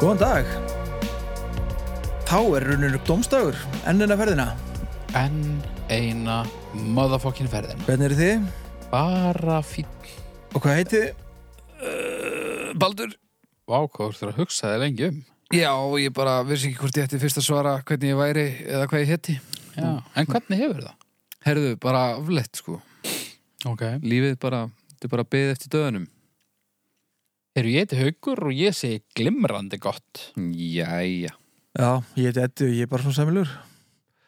góðan dag Þá er runnur upp domstagur Ennina ferðina Enn eina motherfucking ferðin Hvernig eru þið? Bara fín Og hvað heitið? þið? Eh, Baldur Vá, hvað þú ert að hugsa þig lengi um Já, ég bara vissi ekki hvort ég ætti fyrst að svara hvernig ég væri eða hvað ég hétti Já. En hvernig hefur það? Herðu, bara aflett sko Ok Lífið bara, þetta er bara beðið eftir döðunum Eru ég eitthvað haugur og ég segi glimrandi gott Jæja Já, ég heiti Eddu, ég er bara svona semilur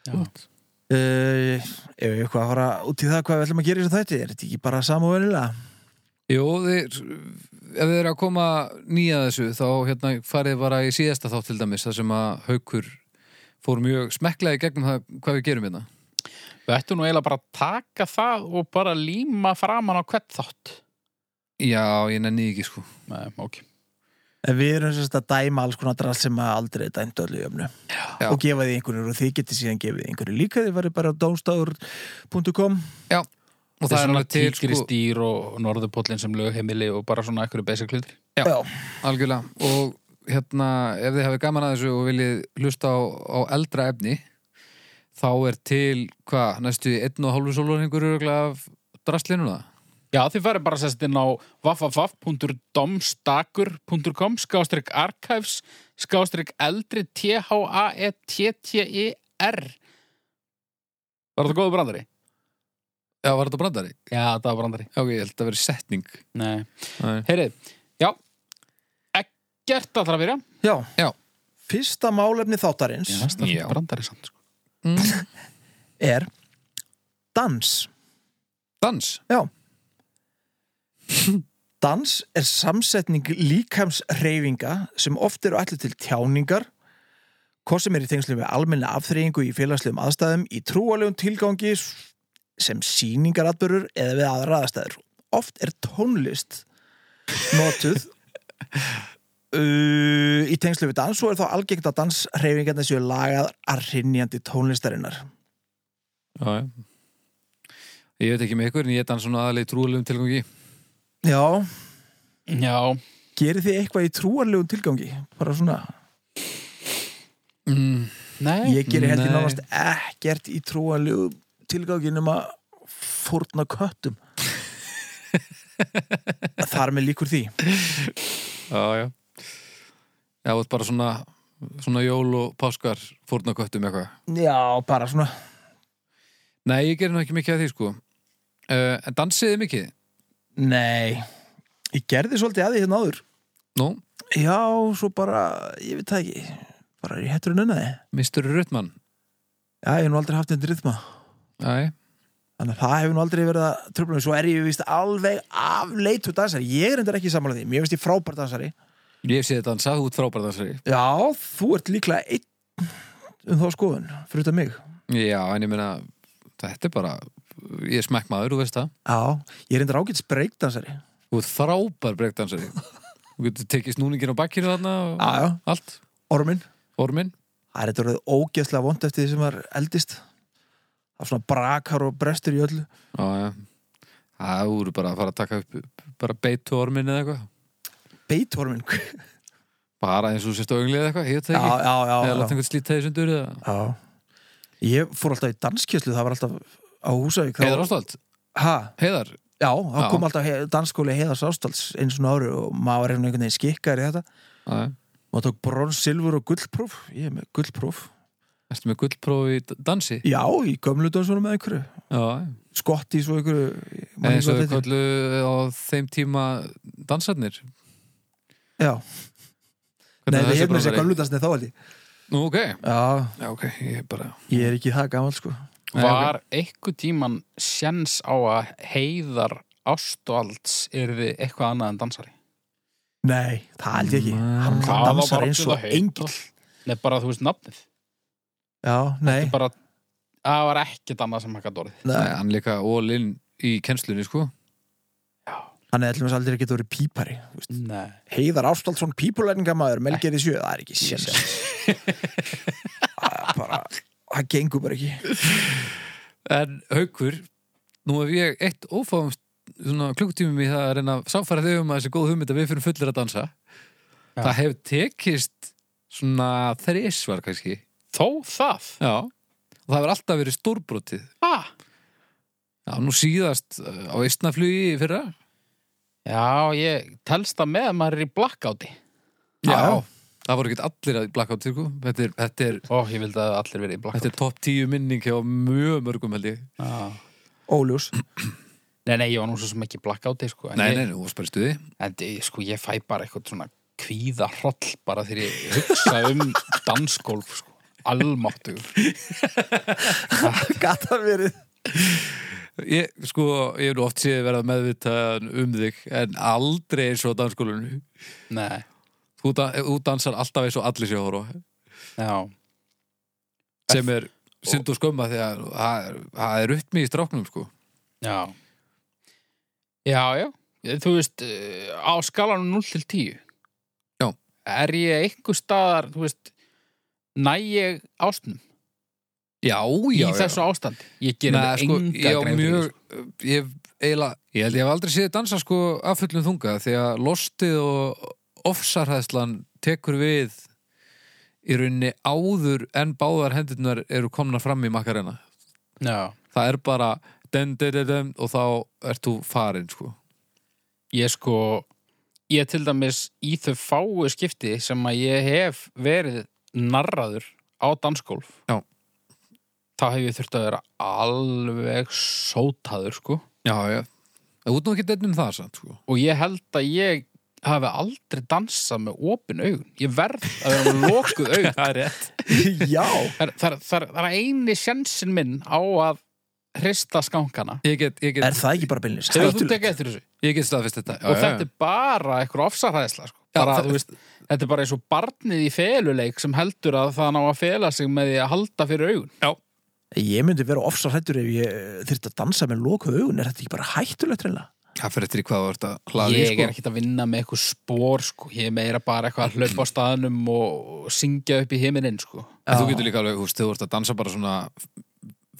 Já uh, Ef við eitthvað að fara út í það hvað við ætlum að gera í þessu þætti Er þetta ekki bara sama og venilega? Jó, þeir, ef þið eru að koma nýja þessu þá hérna farið bara í síðasta þátt til dæmis þar sem að haukur fór mjög smekklega í gegnum það hvað við gerum hérna Við ættum nú eiginlega bara að taka það og bara líma framan á hvert þátt Já, ég nenni því ekki sko Nei, ok En við erum sérst að dæma alls konar drall sem að aldrei er dæmt öllu öfnu Já. og gefa því einhverjur og þið getið síðan gefið þið einhverju líka þið farið bara á domstagur.com Og Það er svona sko- til, sko. tíkri stýr og norðupóllin sem lög heimili og bara svona ekkur basic hlutir Já. Algjörlega og hérna ef þið hafið gaman að þessu og viljið hlusta á, á eldra efni þá er til hvað næstu í einn og hálfu sólurhingur öruglega af drastlinuna Já, þið farið bara sérst inn á www.domstakur.com skástrík archives skástrík eldri E T-H-A-E-T-T-I-R Var þetta góður brandari? Já, var þetta brandari? Já, það var brandari Já, ok, ég held að vera setning Nei, Nei. heyrið, já ekkert allra að byrja Já, Já. Fyrsta málefni þáttarins það Já. er brandari samt sko. Mm. er dans Dans Já Dans er samsetning líkams reyfinga sem oft eru allir til tjáningar hvort sem er í tengslu við almenna afþreyingu í félagslegum aðstæðum í trúalegum tilgangi sem sýningaratbörur eða við aðra aðstæður oft er tónlist notuð uh, í tengslu við dans og er þá algengt að dansreyfingarna séu lagað að hrinnjandi tónlistarinnar Já, já Ég veit ekki með ykkur en ég dans svona aðalega í trúlegum tilgangi Já, Já, gerir þið eitthvað í trúarlegum tilgangi? Bara svona mm. nei Ég gerir heldur Nei. nánast ekkert í trúanlegu tilganginum að fórna köttum Þar með líkur því Já, já Já, þú ert bara svona svona jól og páskar fórnaköttum eitthvað Já, bara svona Nei, ég gerir nú ekki mikið að því sko uh, En dansiði mikið? Nei, ég gerði svolítið að því hérna áður Nú, Já, svo bara, ég veit það ekki bara er ég hættur að nunna því Mr. Ruttmann Já, ég hef nú aldrei haft einn rytma Æ, Þannig að það hefur nú aldrei verið að tröflum Svo er ég vist alveg afleitur dansari Ég er endur ekki sammála því, mér finnst ég frábær dansari Ég sé þetta dansa, þú ert frábært dansari Já, þú ert líklega einn um þá skoðun, fyrir þetta mig Já, en ég meina, þetta er bara Ég er smekk maður, þú veist það Já, ég er endur ágætt spreikdansari Þú ert frábær breykdansari Þú getur tekið snúningin á bakkinu þarna og Já, já, allt, ormin ormin Það er þetta orðið ógeðslega vond eftir því sem var eldist Það er svona brakar og brestur í öllu Já, já Það voru bara að fara að taka upp bara beitu ormin eða eitthvað Beitormin Bara eins og sérst á öngli eða eitthvað, ég veit Já, það ekki já, Eða já, láta já. einhvern slíta þessu undur eða já Ég fór alltaf í danskjöslu, það var alltaf á Húsavík þá- Heiðar Ástvald, Ha, heiðar Já, það Já. kom alltaf he danskóli heiðars ástáls eins og ári og maður er einhvern veginn skikkar í þetta Já, já. Maður tók brons, silfur og gullpróf Ég er með gullpróf Ertu með gullprófi í d- dansi? Já, í gömlu dansunum með einhverju Já, já Skottis og einhverju ég man ekki eins hvað þetta og við heitir. kallu á þeim tíma dansarnir Já, nei, það er með þessi kallu gömlu dansni þá aldrei Nú, ok, Já, já, ok, ég er bara Ég er ekki það gammal sko Nei, Var einhver tíman sjens á að heiðar ástvalds yrði eitthvað annað en dansari? Nei, það held ég ekki Nei. Hann Það var dansar bara eins til og að heita. engill Nei, bara þú veist nafnið Já, nei, bara, Það var ekkert annað sem hægt orðið Nei, nei. hann líka all-in í kennslunni, sko Hann er allmest aldrei ekki verið pípari þú veist. Nei Heiðar Ástvaldsson pípulærningamæður Melgeri sjö, það er ekki sér bara, Það gengur bara ekki En haukur, nú hef ég eitt ófáum svona klukkutímum í það að reyna að samfæra þau um að þessi góð hugmynd að við fyrir fullir að dansa Já. Það hef tekist svona þrísvar kannski Þó það? Já Og það hefur alltaf verið stórbrotið Ha? Já, nú síðast uh, á eistnaflugi í fyrra Já, ég telst það með að maður er í blackouti. Já. Það voru ekki allir að blakka á tyrku Þetta er, þetta er, Ó, ég vildi að allir verið í þetta blackouti. er topp tíu minning hjá mjög mörgum held ég Já. óljós Nei, nei, ég var nú svo sem ekki í blackouti, sko. En Nei, ég, nei, nú varst bara í stuði En ég- sko, ég fæ bara eitthvað svona kvíða hroll bara þegar ég hugsa um dansgólf, sko. Almáttugur. gata verið Ég, sko, ég hef nú oft séð verða meðvitaðan um þig En aldrei eins og á danskólinu Nei, þú, da, þú dansar alltaf eins og allir séu að horfa já. sem er synd og skömma því að það er- það er rytmi í stráknum sko Já. Já, já. Ég- Þú veist, eh, á skalanum 0 til 10. Já. Er ég einhver staðar, þú veist, næ ég ástnum já, í já, já þessu ástandi? Ég gerir Nei, mér sko, enga ég á grein fyrir mjög því, ég, eila, ég held ég hef aldrei séð dansa sko af fullum þunga því að lostið og ofsarhæðslan tekur við í rauninni áður en báðar hendurnar eru komnar fram í makkarina sko. Já. það er bara den, den, den, den, og þá ert þú farin sko Ég sko, ég til dæmis í þau fáu skipti sem að ég hef verið narraður á dansgólf. Já. Þá hef ég þurft að vera alveg sótaður, sko. já, já, það út nú ekki dennum það samt sko Og ég held að ég hafi aldrei dansað með opin augun. Ég verð að vera með lokuð augun. það er rétt já, Það er, það, er, það, er, það er eini sjensin minn á að hrista skankana. ég get, ég get, er það ekki bara beinlis Hefur þú tekið eftir þessu? ég get staðfist þetta og þetta er bara eitthvað ofsarhæðsla sko. Já, bara, það- þú veist, þetta er bara eins og barnið í feluleik sem heldur að það ná að fela sig með því að halda fyrir augun ég myndi vera ofsar hættur ef ég þyrfti að dansa með loku augun er þetta ekki bara hættulegt reyna það fyrir eftir í sko. hvað þú ert að hlaði ég er ekkert að vinna með eitthvað spór sko. ég er meira bara eitthvað að hlaupa á staðnum og syngja upp í himininn sko. En þú getur líka alveg, þú veist, þú ert að dansa bara svona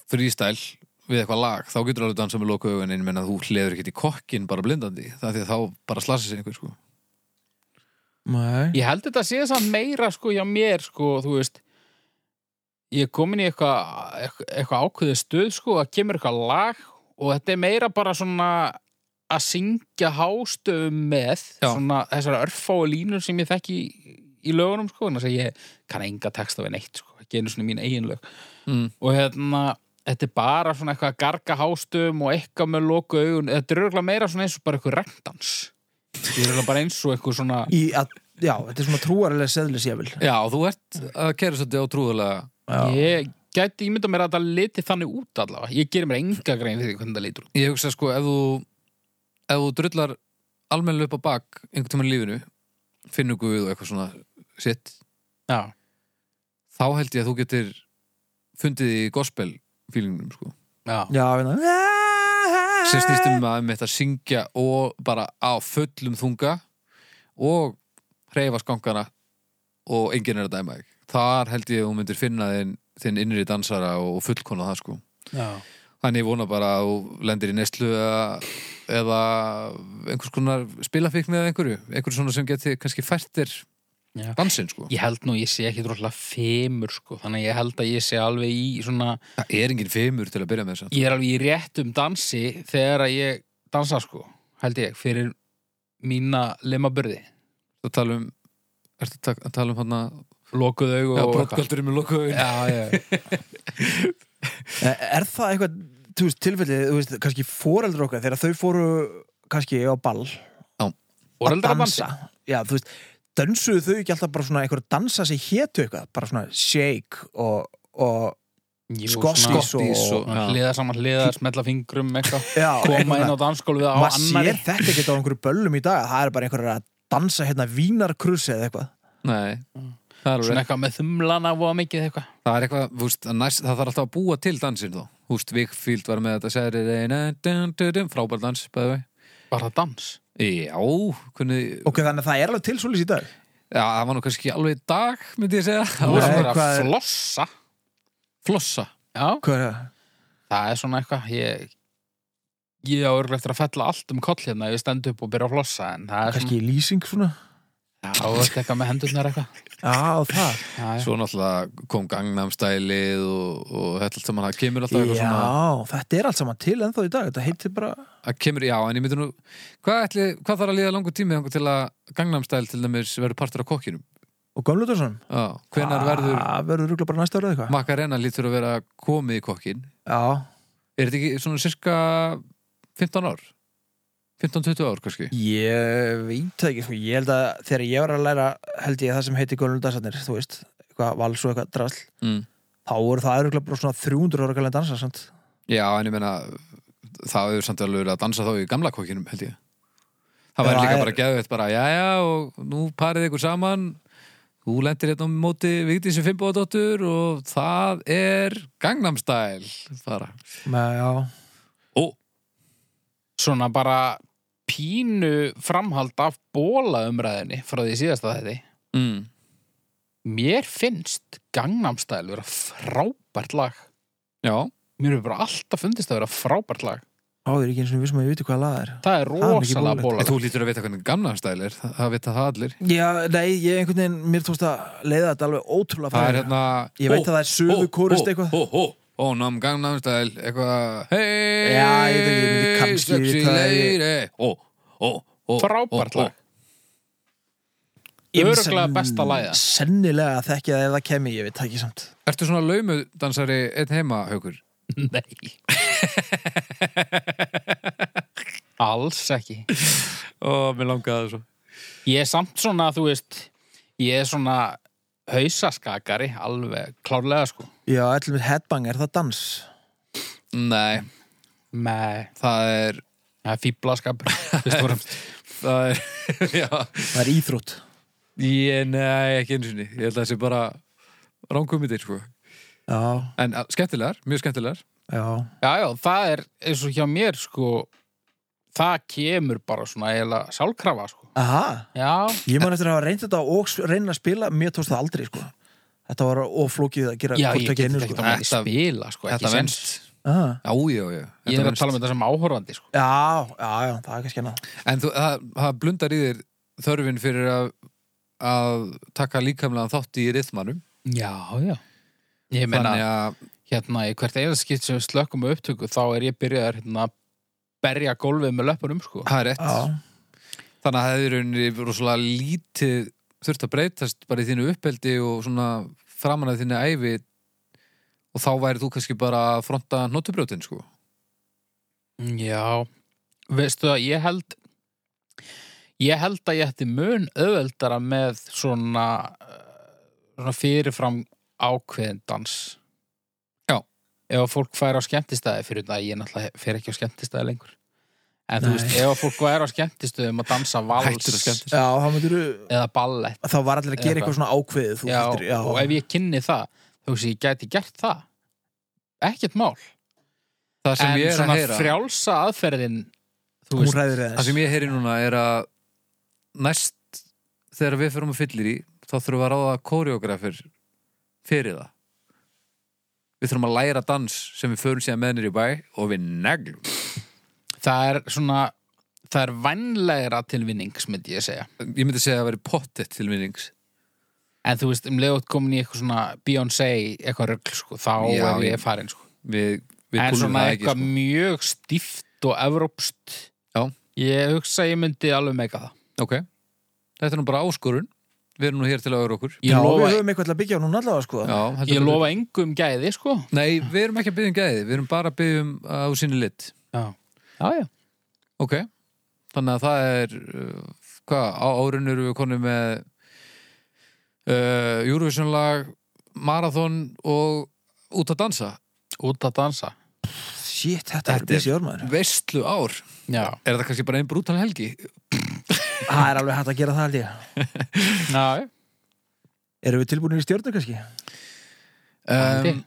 freestyle við eitthvað lag, þá getur alveg dansa með loku augun en ég menna þú hliður ekkert í kokkin bara blindandi það er því að þá bara slasa sér einhver sko nei ég held þetta sé samt meira sko, hjá mér sko, þú veist ég er komin í eitthvað eitthvað eitthva ákveðið stuð sko, það kemur eitthvað lag og þetta er meira bara svona að syngja hástöfum með Já. svona þessar örfáu línur sem ég þekki í, í lögunum sko, þannig að ég kann enga texta við neitt sko, ekki einu svona mín eigin lög mm. og hérna, þetta er bara svona eitthvað að garga hástöfum og eitthvað með loku augun, þetta er örgulega meira svona eins og bara eitthvað regndans ég er örugglega bara eins og eitthvað svona í að, já, þetta er svona trúarilega seðlis ég vil Já, og þú ert að kæra svolítið á trúðulega já, Ég gæti ímynda mér að það liti þannig út allavega. Ég gerir mér enga grein fyrir því hvernig það litur út. Ég hugsa sko, ef þú ef þú drullar almennilega upp á bak einhvern tímann í lífinu, finnur guð og eitthvað svona sitt Já. þá held ég að þú getur fundið í gospel fílingnum sko Já. já, hérna sem um- snýstum að með þetta syngja og bara á fullum þunga og hreyfa skankana og enginn er að dæma þig þar held ég að hún myndir finna þinn, þinn innri dansara og fullkona það sko Já. þannig ég vona bara að þú lendir í neslu eða, eða einhvers konar spilafíkni eða einhverju einhverju svona sem geti kannski fært þér Já. dansinn sko Ég held nú, ég sé ekki droslega femur, sko. Þannig að ég held að ég sé alveg í svona, það er enginn feimur til að byrja með þess ég er alveg í réttum dansi þegar að ég dansa, sko. Held ég, fyrir mína limabörði. að tala um ertu að ta- að tala um hann að Lokuð aug og brottgöldurinn með lokuðu Já, já. E, er það eitthvað þú veist, tilfellið, þú veist, kannski foreldur okkar þegar þau fóru kannski á ball Og að dansa já, þú veist, dansuðu þau ekki alltaf bara svona einhverja dansa sem hétu eitthvað bara svona shake og, og Skoskís skottis og- Já. Hliða saman hliða, smetla fingrum, eitthvað. já, Koma eitthvað inn á dansgólfið á svona. maður annari. sér þetta ekkert á einhverju böllum í dag að það er bara einhverjar að dansa hérna vínarkrussi eða eitthvað Nei, Mm. það Svona er, alveg- eitthvað með þumlana og mikið eitthvað. það er eitthvað þú veist, að næst, það þarf alltaf að búa til dansin þó Húst, Vigfield var með þetta særi frábær dans, bæði vei Bara dans. Já, kunni, ok, þannig að það er alveg til svolítið í dag já, það var nú kannski ekki alveg í dag, myndi ég segja Það voru Nei, bara hvað að er- flossa Flossa Já, hvað er það? það er svona eitthvað Ég, ég á örgulegt eftir að fella allt um koll hérna ef ég stend upp og byrja að flossa en það er, svona, kannski lýsing svona Já, þú ert eitthvað með hendurnar eitthvað. Já, það. Já, já. Svo náttúrulega kom Gangnam stælið og, og þetta allt saman, það kemur alltaf eitthvað svona Já, þetta er allt saman til ennþá í dag. Þetta heitir bara... að kemur, já, en ég myndi nú hvað, ætli, hvað þarf að líða langur tími þangað til að Gangnam Style til dæmis verður partur af kokkinum Og Gömluðarsson. já, hvenær verður Það verður rúglega bara næsta ára eða eitthvað. Macarena lítur að vera komið í kokkin Já, er þetta ekki svona cirka 15 ár 15-20 ár kannski Ég veit það ekki, sko, ég held að þegar ég var að læra held ég það sem heiti Gölundarsarnir, þú veist, eitthvað vals og eitthvað drasl, mm. þá voru það örugglega bara svona 300 ára gælega dansa, sant? já, en ég meina það hefur samt alveg verið að dansa þá í gamla kokkinum held ég það Já, væri líka er- bara geðveitt bara, já, já, og nú parið ykkur saman þú lendir hérna á móti Vigdísi Fimboðdóttur og það er Gangnam Style bara Með, já, Ó, Svona bara pínu framhald af bólaumræðinni frá því síðasta þetta. mm. Mér finnst Gangnam Style vera frábært lag. Já, Mér hefur bara alltaf fundist að vera frábært lag. þá er ég ekki eins og við sem um að ég viti hvað lag er. Það er er mikið rosalega bólulegt. en bólaumræði. þú lítur að vita hvernig gamla stæl er, það það vita það allir Já, nei, ég einhvern veginn, mér tókst að leiða þetta alveg ótrúlega Það er fræðilega. hérna Ég veit að það er suðurkórist eitthvað. Ó, ó, ó, nám gamla stæl eitthvað Hei, Já, ég veit ekki, ég myndi kannski sexy vita það, ég- lady Ó, ó, ó Frábært ó, ó. lag. Ég mun örugglega senn- besta lagið. Sennilega að þekkja það ef það kemi, ég veit það ekki samt. Ertu svona laumudansari einn heima, haukur? Nei. Alls ekki. Ó, mér langaði það svo Ég er samt svona, þú veist, ég er svona hausaskakari, alveg klárlega sko. Já, allir mitt headbang, er það dans? Nei, Með það er fýblaskapur, fyrst og fremst. Það er, já Það er íþrótt. Ég, nei, ekki einu sinni Ég held að það sé bara ránkumitir, sko Já, En að- skemmtilegar, mjög skemmtilegar já, Já, já, það er eins og hjá mér sko, það kemur bara svona eiginlega sálkrafa sko. aha. Já, Ég man eftir að hafa reynd þetta og s- reyna að spila, mér tókst það aldrei, sko. Þetta var oflókið að gera já hvort ég ekki get einu, sko. þetta ekkert á meðan Þetta- spila sko, ekki Þetta sens. venst Aha. Já, já, já Þetta Ég er að venst. tala með þetta sem áhorfandi sko. Já, já, já, það er kannski annað. En þú, það, það blundar í þér þörfin fyrir að, að taka líkamlega þátt í rithmanum Já, já. Ég meina, Þannig að, hérna, í hvert eina skipt sem við slökkum á upptöku, þá er ég byrjaður hérna að berja gólfið með löpunum sko. það er rétt Já, Þannig að það er rauninni rosalega lítið þurft að breytast bara í þínu uppeldi og svona framan að þínu ævi og þá væri þú kannski bara að fronta notubrjótin sko Já, veistu að ég held ég held að ég ætti mun auðveldara með svona, eh, svona fyrirfram ákveðin dans Já. Ef að fólk fær á skemmtistæði fyrir það, ég náttúrulega fer ekki á skemmtistæði lengur En þú Nei. veist, ef að fólk væri á skemmtistöðum að dansa Hættur að vals skemmtist. já þá myndir eða ballett þá var allir að gera Eða eitthvað svona ákveðið, þú já, heldur, já. og ef ég kynni það, þú veist, ég gæti gert það ekkert mál Það sem En ég er að svona heyra frjálsa aðferðin þú Hún veist, ræður eða Það sem ég heyri núna er að næst þegar við förum að fyllir í þá þurfum við að ráða kóreografir fyrir það Við þurfum að læra dans sem við förum síðan með nýr í bæ og við neglum Það er svona Það er vænlegra tilvinnings myndi ég segja Ég myndi segja að veri pottet til minnings En þú veist, um leiðut komin í eitthvað svona Beyoncé, eitthvað rögl sko, þá Já, er ég- ég farin sko. Við, við En kúlum svona það eitthvað sko. mjög stíft og evrópst Já. Ég hugsa að ég myndi alveg meika það Ok, þetta er nú bara áskorun Við erum nú hér til að öðru okkur Ég Já, lofa, við höfum eitthvað til að byggja á núna allavega, sko. Já, ég heldur betur. lofa engu um gæði sko. Nei, við erum ekki að byggja um gæði Við erum bara að byggja um að þú sinni lit Já, já, já Ok, þannig að það er uh, hvað, á árinu eru við konum með uh, Eurovision-lag marathon og út að dansa Út að dansa Shit, þetta er Þetta er- busy ormaður. Vestlu ár, Já, er það kannski bara einn brútal helgi? Það er alveg hægt að gera það, held ég. já, já Erum við tilbúinir í stjórnu, kannski? Haldið. Um,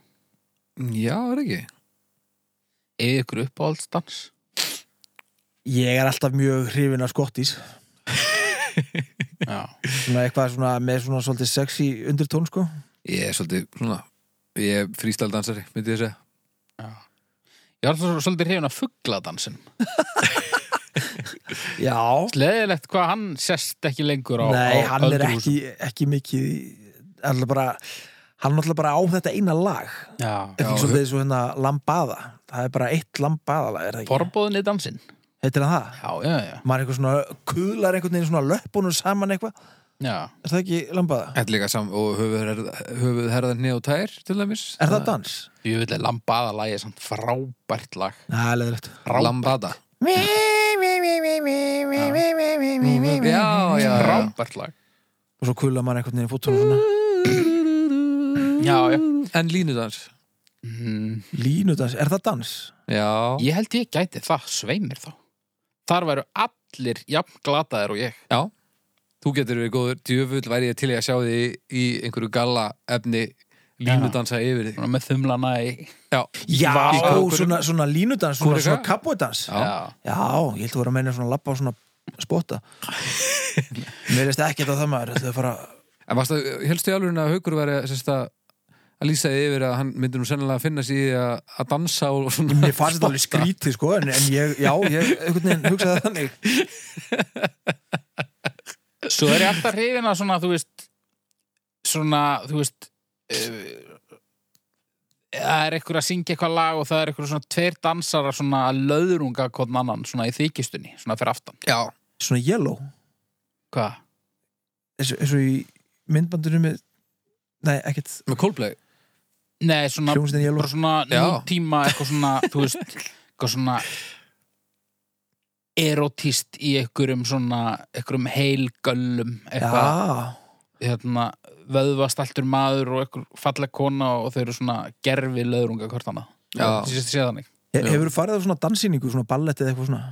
já, er ekki Eða ykkur uppáhaldsdans Ég er alltaf mjög hrifin af skottís. Já, Svona eitthvað svona, með svona svolítið sexy undirtón, sko. Ég er svolítið svona Ég er frístaldansari, myndi ég segja já Ég var svo- svolítið hrifin að fugladansin Já, Leðilegt hvað hann sest ekki lengur á nei, á hann er öldruhúsum. ekki, ekki mikið í- hann er bara, hann er náttúrulega bara á þetta eina lag Já, Þetta er Já, ekki svolítið eins og hérna lambada það er bara eitt lambadalag, er það ekki? forbóðin í dansinn Heitir hann það? Já, já, já, Maður eitthvað svona, kuðlar einhvern veginn svona löppunum saman eitthvað, já. er það ekki lambada? Þetta er líka sam og höfuð herðan nið og tær til dæmis Er það dans? Ég vil að lambaðalagi er samt frábært lag Það er leðilegt Lambada Og Já, já, já Frábært lag svo kuðlar maður einhvern veginn fótunum svona Já, já En línudans mm, Línudans, er það dans? Já, Ég held ég gæti það, sveimir þá Þar væru allir jafn glataðir og ég já Þú getur verið góður, djöfull væri ég til í að sjá því í einhverju galla efni línudansa yfir því Svona með þumlana í Já, Já, Í kókinu. svona, svona línudans, svona, Kúrika? svona kapodans Já. Já, ég held að voru að meina svona lappa á svona spotta Mér leist ekki þetta það maður Þetta er fara En varstu, helstu í alveg að haukur væri sérst, að, að lýsa því yfir að hann myndi nú sennilega að finna sig í að, að dansa og svona Mér fannst þetta alveg skrítið sko En, en ég, já, ég einhvern veginn hugsaði það þannig Svo er ég alltaf hrifin að svona, þú veist svona, þú veist eh, það er einhver að syngja eitthvað lag og það er einhver svona tveir dansarar svona að löðrunga hvort annan svona í þykistunni, svona fyrir aftan Já, Svona yellow, Hvað? eins og- eins og í myndbandinu með Nei, ekkert með Coldplay Nei, svona, Hljómsveitin Yellow. bara svona Já. nútíma eitthvað svona, þú veist eitthvað svona erotíst í einhverjum svona einhverjum heilgöllum eitthvað, Já, hérna vöðvastaltur maður og einhver falleg kona og þau eru svona gerfi löðrunga hvort annað Já. Þú sést þið séð þannig He- hefurðu farið á svona dansýningu, svona ballett eða eitthvað svona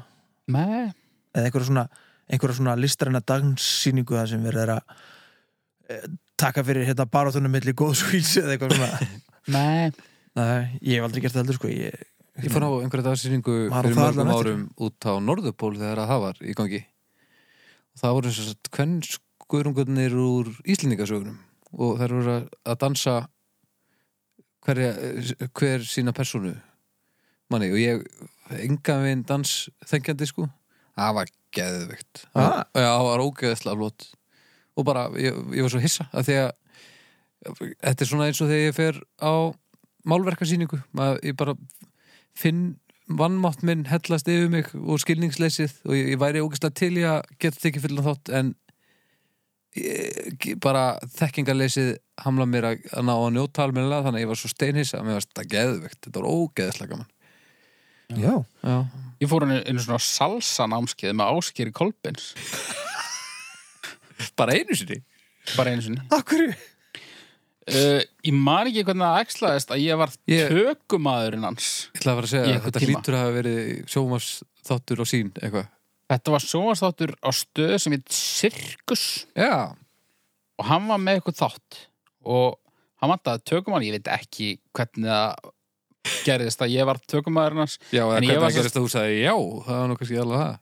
Nei, eða einhverja svona, einhverja svona listræna dansýningu það sem verður að eh, taka fyrir hérna barátunum milli góðsvíls eða eitthvað svona nei Nei, ég hef aldrei gert það heldur sko ég, Ég fór á einhverja dagsýringu Var fyrir það allan mörgum eftir? árum út á Norðupól þegar að það var í gangi og það voru sérst kvennskörungurnir úr Íslendingasögunum og þær voru að- að dansa hverja, hver sína personu manni og ég engan veginn dans þengjandi sko það var geðveikt Ah. Já, það var ógeðslega flott og bara, ég, ég var svo hissa að því að þetta er svona eins og þegar ég fer á málverkasýningu að ég bara finn vannmátt minn hellast yfir mig og skilningsleysið og ég, ég væri ógeðslega til í að geta tekið fullan þátt en ég, bara þekkingarleysið hamla mér að, að ná að njóta almennilega þannig að ég var svo steinhissa að mér varst þetta geðveikt, þetta var ógeðslega gaman Já, Já, Ég fór henni einu svona salsa námskeið með Áskeri Kolbens bara einu sinni bara einu sinni akkur uh, Ég man ekki hvernig það æxlaðist að ég var Ég- tökumaðurinn hans Ég ætla að fara að Í segja að einhvern þetta tíma. hlýtur að hafa verið sjómas þáttur og sín eitthvað. Þetta var sjónastáttur á stöð sem heit Sirkus Já, og hann var með eitthvað þátt og hann vantaði tökumaður ég veit ekki hvernig það gerðist að ég var tökumaðurinn hans já, eða En ég hvernig var það svo- gerist að þú sagði já, það var nú kannski alveg það.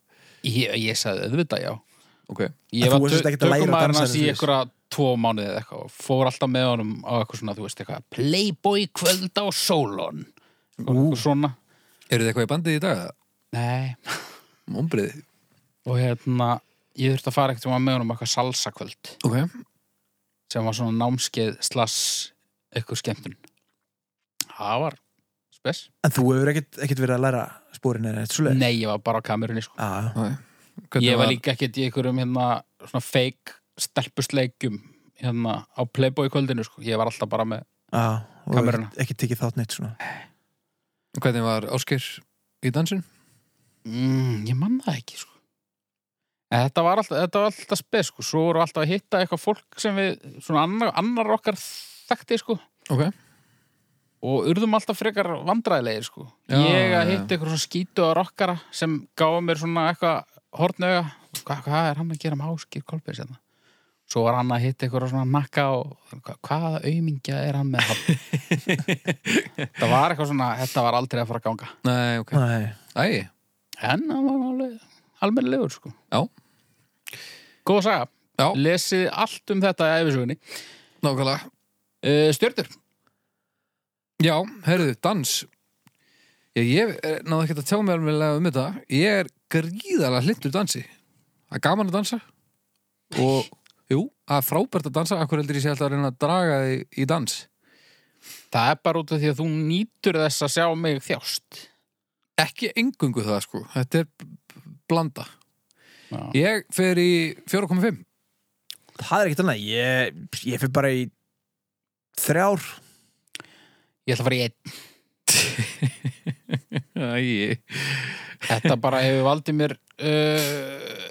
Ég, ég sagði auðvitað já Ok, En Ég þú var varst tö- ekkert að læra að dansa tökumaðurinn hans þessu í lýs. einhverja tvo mánuði eða eitthvað og fór alltaf með honum á eitthvað svona, þú veist, eitthvað Playboy kvöld á Solon og eitthvað svona eru þið eitthvað í bandið í dag? Nei, Mombriði. og hérna ég þurfti að fara ekkert um að með honum á eitthvað salsa kvöld Ok, sem var svona námskeið slass eitthvað skemmtun Það var spes En þú hefur ekkert, ekkert verið að læra spórin eða Ah, eitthvað svoleið Nei, ég var bara á kamerunni sko Já, hvernig Ég var líka ekkert í einhverjum hérna svona fake stelpusleikjum hérna á Playboy kvöldinu sko Ég var alltaf bara með já, ah, og Kameruna. ekkert, ekkert tekið þátt neitt svona Hvernig var Ásker í dansin? mm, Ég man það ekki sko En þetta var alltaf, þetta var alltaf spes sko Svo voru alltaf að hitta eitthvað fólk sem við svona annar, annar okkar þekkti sko Ok. og urðum alltaf frekar vandræðilegir sko. Já, ég já, að já. hitta eitthvað svona skítu á rockara sem gáði mér svona eitthvað hortnauga, hvað hva er hann að gera með áskir kolpins hérna svo var hann að hitta eitthvað svona nakka og hva, hvaða aumingja er hann með hann það var eitthvað svona þetta var aldrei að fara að ganga Nei, ok. Nei, Æ, en hann var alveg almennilegur sko. Já. góð saga, Já. lesið allt um þetta í æfisugunni nákvæmlega. uh, stjörtur, Já, herðu, dans. eh, Ég, ég er- náði ekkert að tjá mér alveg um þetta. Ég er gríðalega hlindur dansi. Það er gaman að dansa og jú, það er frábært að dansa akkur heldur ég sé alltaf að reyna að draga þig í dans Það er bara út af því að þú nýtur þess að sjá mig þjást. ekki engungu það sko þetta er b- blanda Já. ég fer í 4,5 Það er ekkert annað, ég, ég fyrir bara í þrjár Ég ætla að fara í einn. Æi. Þetta bara hefur valdið mér uh,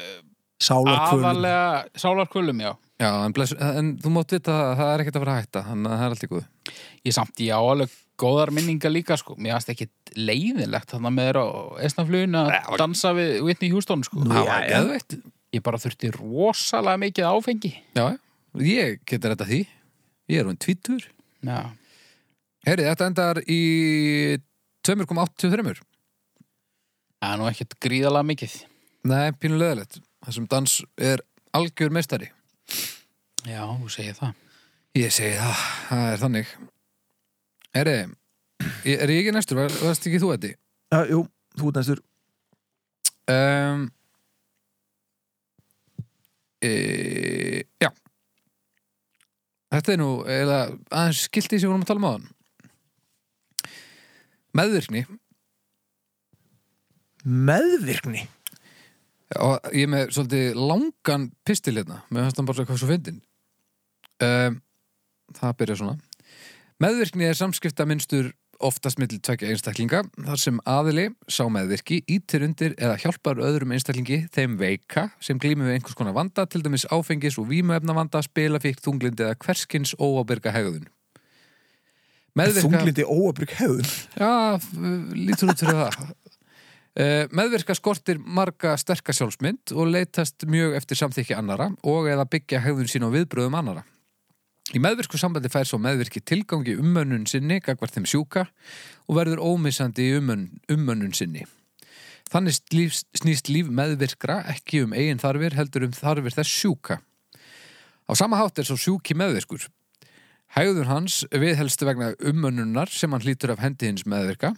sálarkvölu. aðalega sálarkvölum, já. já, en, bless, en þú mátt vita að það er ekkert að vera að hætta þannig að það er allt í góð Ég samt, ég á alveg góðar minningar líka, sko. Mér finnst ekki leiðilegt þannig að með þér á esnaflugin að dansa við Whitney Houston, sko. Nú, það já, var já. geðveitt Ég bara þurfti rosalega mikið áfengi. já, ég getur þetta því ég er hún tvítur Já. Heri, þetta endar í 2,83 Það er nú ekkert gríðalega mikið. nei, pínulegilegt það sem dans er algjör meistari Já, þú segir það. ég segi það, það er þannig Heri, er ég ekki næstur? Var- Varst ekki þú þetta? Já, Ah, jú, þú ert næstur. um, e, Já Þetta er nú eða, aðeins skilti sem við vorum að tala um á hann Meðvirkni Meðvirkni. og ég er með svolítið langan pistil hérna með hans bara hvað svo fyndin um, Það byrja svona Meðvirkni er samskipta minnstur oftast millir tvekja einstaklinga þar sem aðili, sá meðvirki, ítir undir eða hjálpar öðrum einstaklingi þeim veika sem glýmum við einhvers konar vanda til dæmis áfengis og vímuefnavanda, spilafíkt, þunglindi eða hverskins óábyrga hegðun Meðvirka- Þunglindi óabrygg hefðun. Já, f- lítur út fyrir það. Eh, Meðverka skortir marga sterka sjálfsmynd og leitast mjög eftir samþykki annara og eða byggja hegðun sín á viðbröðum annara. Í meðvirku sambandi fær svo meðvirki tilgangi umönnun sinni gagvart þeim sjúka og verður ómissandi í umönn, umönnun sinni. Þannig líf, snýst líf meðvirkra ekki um eigin þarfir heldur um þarfir þess sjúka. Á sama hátt er svo sjúki meðvirkur. Hægður hans viðhelst vegna umönnunar sem hann hlýtur af hendi hins meðverka.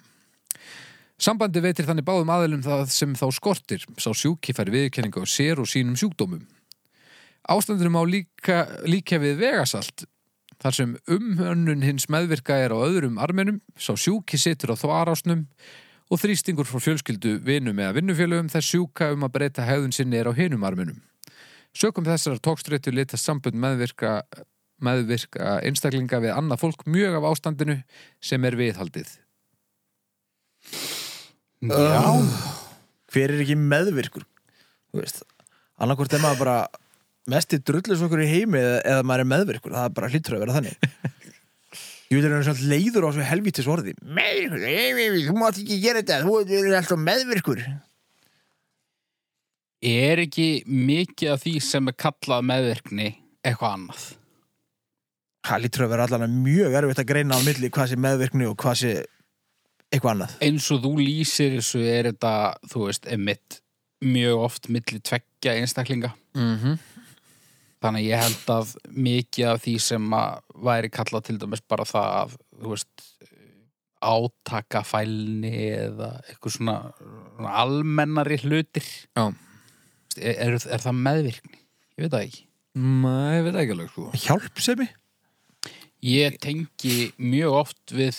Sambandi veitir þannig báðum aðilum það sem þá skortir, sá sjúki fær viðkenningu á sér og sínum sjúkdómum. Ástandurum á líka, líka við vegasalt, þar sem umönnun hins meðvirka er á öðrum arminum, sá sjúki situr á þvarásnum og þrýstingur frá fjölskyldu vinum eða vinnufjölugum þess sjúka um að breyta hegðun sinni er á hinum arminum. Sökum þessar tókstréttu litast sambund meðvirka meðvirka einstaklinga við annað fólk mjög af ástandinu sem er viðhaldið. Já. Hver er ekki meðvirkur? Þú veist, annarkvort er maður bara mesti drullis okkur í heimi eða, eða maður er meðvirkur. Það er bara hlýtur að vera þannig. Ég vil er svona leiður á svo helvítis orði. Meðvirkur, ei, ei, ei, þú mátt ekki gera þetta, þú er alltaf meðvirkur. Er ekki mikið af því sem er kallað meðvirkni eitthvað annað? Það lítur að vera allan mjög erfitt að greina á milli hvað sé meðvirkni og hvað sé eitthvað annað. eins og þú lýsir þessu er þetta, þú veist, emitt mjög oft milli tveggja einstaklinga. Mm -hmm. Þannig að ég held að mikið af því sem að væri kallað til dæmis bara það að, þú veist, átakafælni eða eitthvað svona, svona almennari hlutir. Þú Já. veist, Er, er, er það meðvirkni? Ég veit það ekki. Nei, ég veit ekki alveg sko. Hjálpsemi? Ég tengi mjög oft við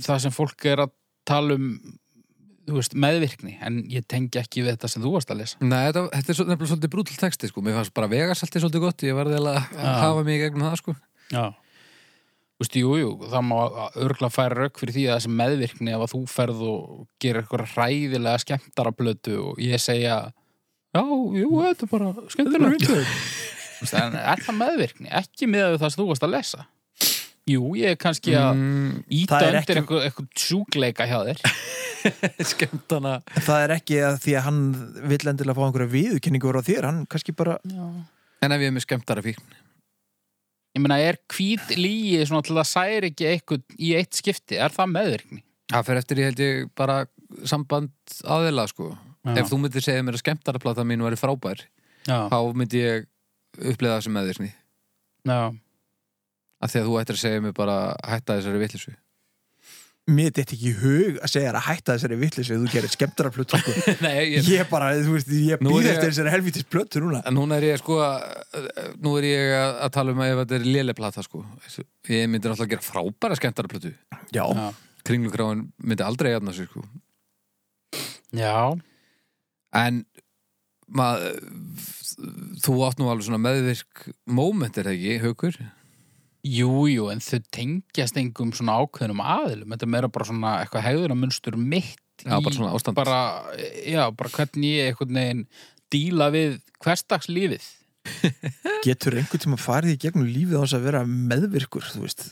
það sem fólk er að tala um þú veist, meðvirkni, en ég tengi ekki við þetta sem þú varst að lesa. Nei, þetta, þetta er svo- nefnilega svolítið brútal texti sko. Mér fannst bara vegasaltið svolítið gott. Ég varði eiginlega að Já. hafa mig í gegnum það sko. Já. Þú veist, jú, jú, það má örgla færa rauk fyrir því að þessi meðvirkni ef að þú ferð og gerir eitthvað ræðilega skemmtara blötu og ég segja já, jú, þetta er bara skemmtilega Þú veist, en er það meðvirkni? Ekki með það sem þú varst að lesa Jú, ég er kannski að Mm, íta Það er undir ekki- eitthvað, eitthvað sjúkleika hjá þér Skemtana. Það er ekki að því að hann vill endilega fá einhverja viðurkenningu á þér, hann kannski bara Já. En ef ég er með skemtara fíkn. Ég meina, er hvít lígi svona til að særi ekki eitthvað í eitt skipti, er það meðvirkni? Það fer eftir ég held ég bara samband aðeila sko. Ef þú myndir segja mér að skemtara plata mín væri frábær, Já, þá myndi ég upplega það sem meðvirkni. já, Af því að þú ættir að segja mér bara að hætta þessari vitlisu. mér þetta ekki í hug að segja þér að hætta þessari vittlis eða þú gerir skemmtara plötu sko. Nei, ég, ég bara, þú veist, ég Nú er býð ég- eftir þessari helvitis plötu núna en núna er ég sko að, nú er ég að, að tala um að ef þetta er léleplata sko ég myndi náttúrulega gera frábæra skemmtarplötu já, Já. kringlugráin myndi aldrei jafna sér sko Já, en maður þú átt nú alveg svona meðvirk moment er það ekki, haukur? jú, jú, en þau tengjast engum svona ákveðnum aðilum. Þetta er meira bara svona eitthvað hegðunamunstur mitt. í- Já, bara svona ástand Bara, já, bara hvernig ég einhvern veginn díla við hversdagslífið. getur einhvern tíma farið í gegnum lífið á þess að vera meðvirkur, þú veist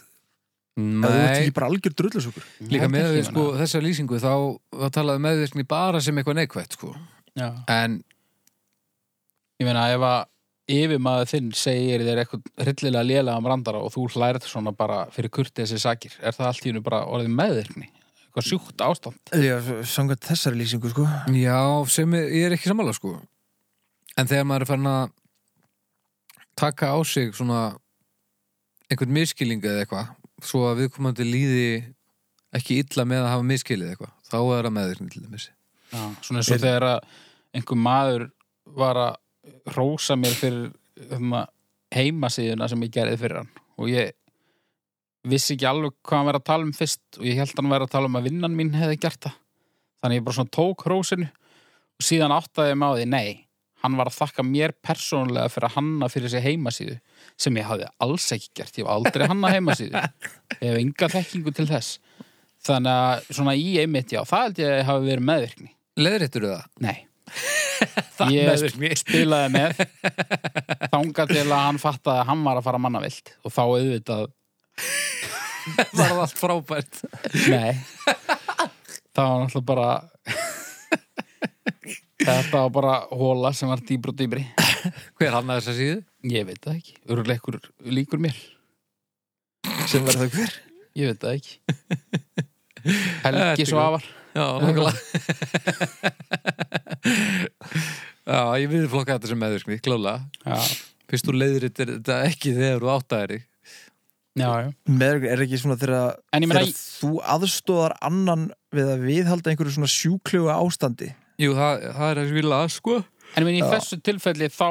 eða þú ert Nei, ekki bara algjör drullusökur líka Ég held með ekki, við sko meina. þessa lýsingu þá, þá talaðu meðvirkni bara sem eitthvað neikvætt sko Já. en Ég meina, ef að yfirmaður þinn segir þér eitthvað hryllilega lélega um randara og þú hlært svona bara fyrir kurtið þessi sakir, er það allt í hennu bara orðið meðvirkni? Eitthvað sjúkt ástand? já, samkvæmt þessari lýsingu, sko Já, sem er, ég er ekki sammála sko En þegar maður er farin að taka á sig svona einhvern miskilinga eða eitthvað svo að viðkomandi líði ekki illa með að hafa miskilið eitthvað þá er það meðvirkni til dæmis Já, svona eins og þegar að einhver maður var að rósa mér fyrir um, heimasíðuna sem ég gerði fyrir hann og ég vissi ekki alveg hvað hann verið að tala um fyrst og ég held hann verið að tala um að vinnan mín hefði gert það þannig ég bara svona tók rósinu og síðan áttaði ég með á því nei, hann var að þakka mér persónulega fyrir að hanna fyrir sér heimasíðu sem ég hafði alls ekki gert, ég hef aldrei hanna heimasíðu ég hef enga þekkingu til þess þannig að svona í einmitt já, það held ég hafi verið meðvirkni Leðréttur það? Nei Það Ég meðvirkni spilaði með þangað til að hann fattaði að hann var að fara mannavilt og þá auðvitað var það allt frábært Nei Það var náttúrulega bara Þetta var bara hóla sem var dýbr og dýbri Hver hann að þessa síðu? Ég veit það ekki, öruleikur líkur mér sem var það hver Ég veit það ekki Þetta er Helgi gott. Svavar Já, nokkala Já, ég við flokka þetta sem meðvirkni, klála Já, Fyrst þú leiðréttir þetta ekki þegar þú áttaðir þig. já, já meðvirkur er ekki svona þegar, En ég meina, þegar þú aðstóðar annan við að viðhalda einhverju svona sjúkluga ástandi Jú, það, það er að svila, sko En minn í Já. þessu tilfelli þá,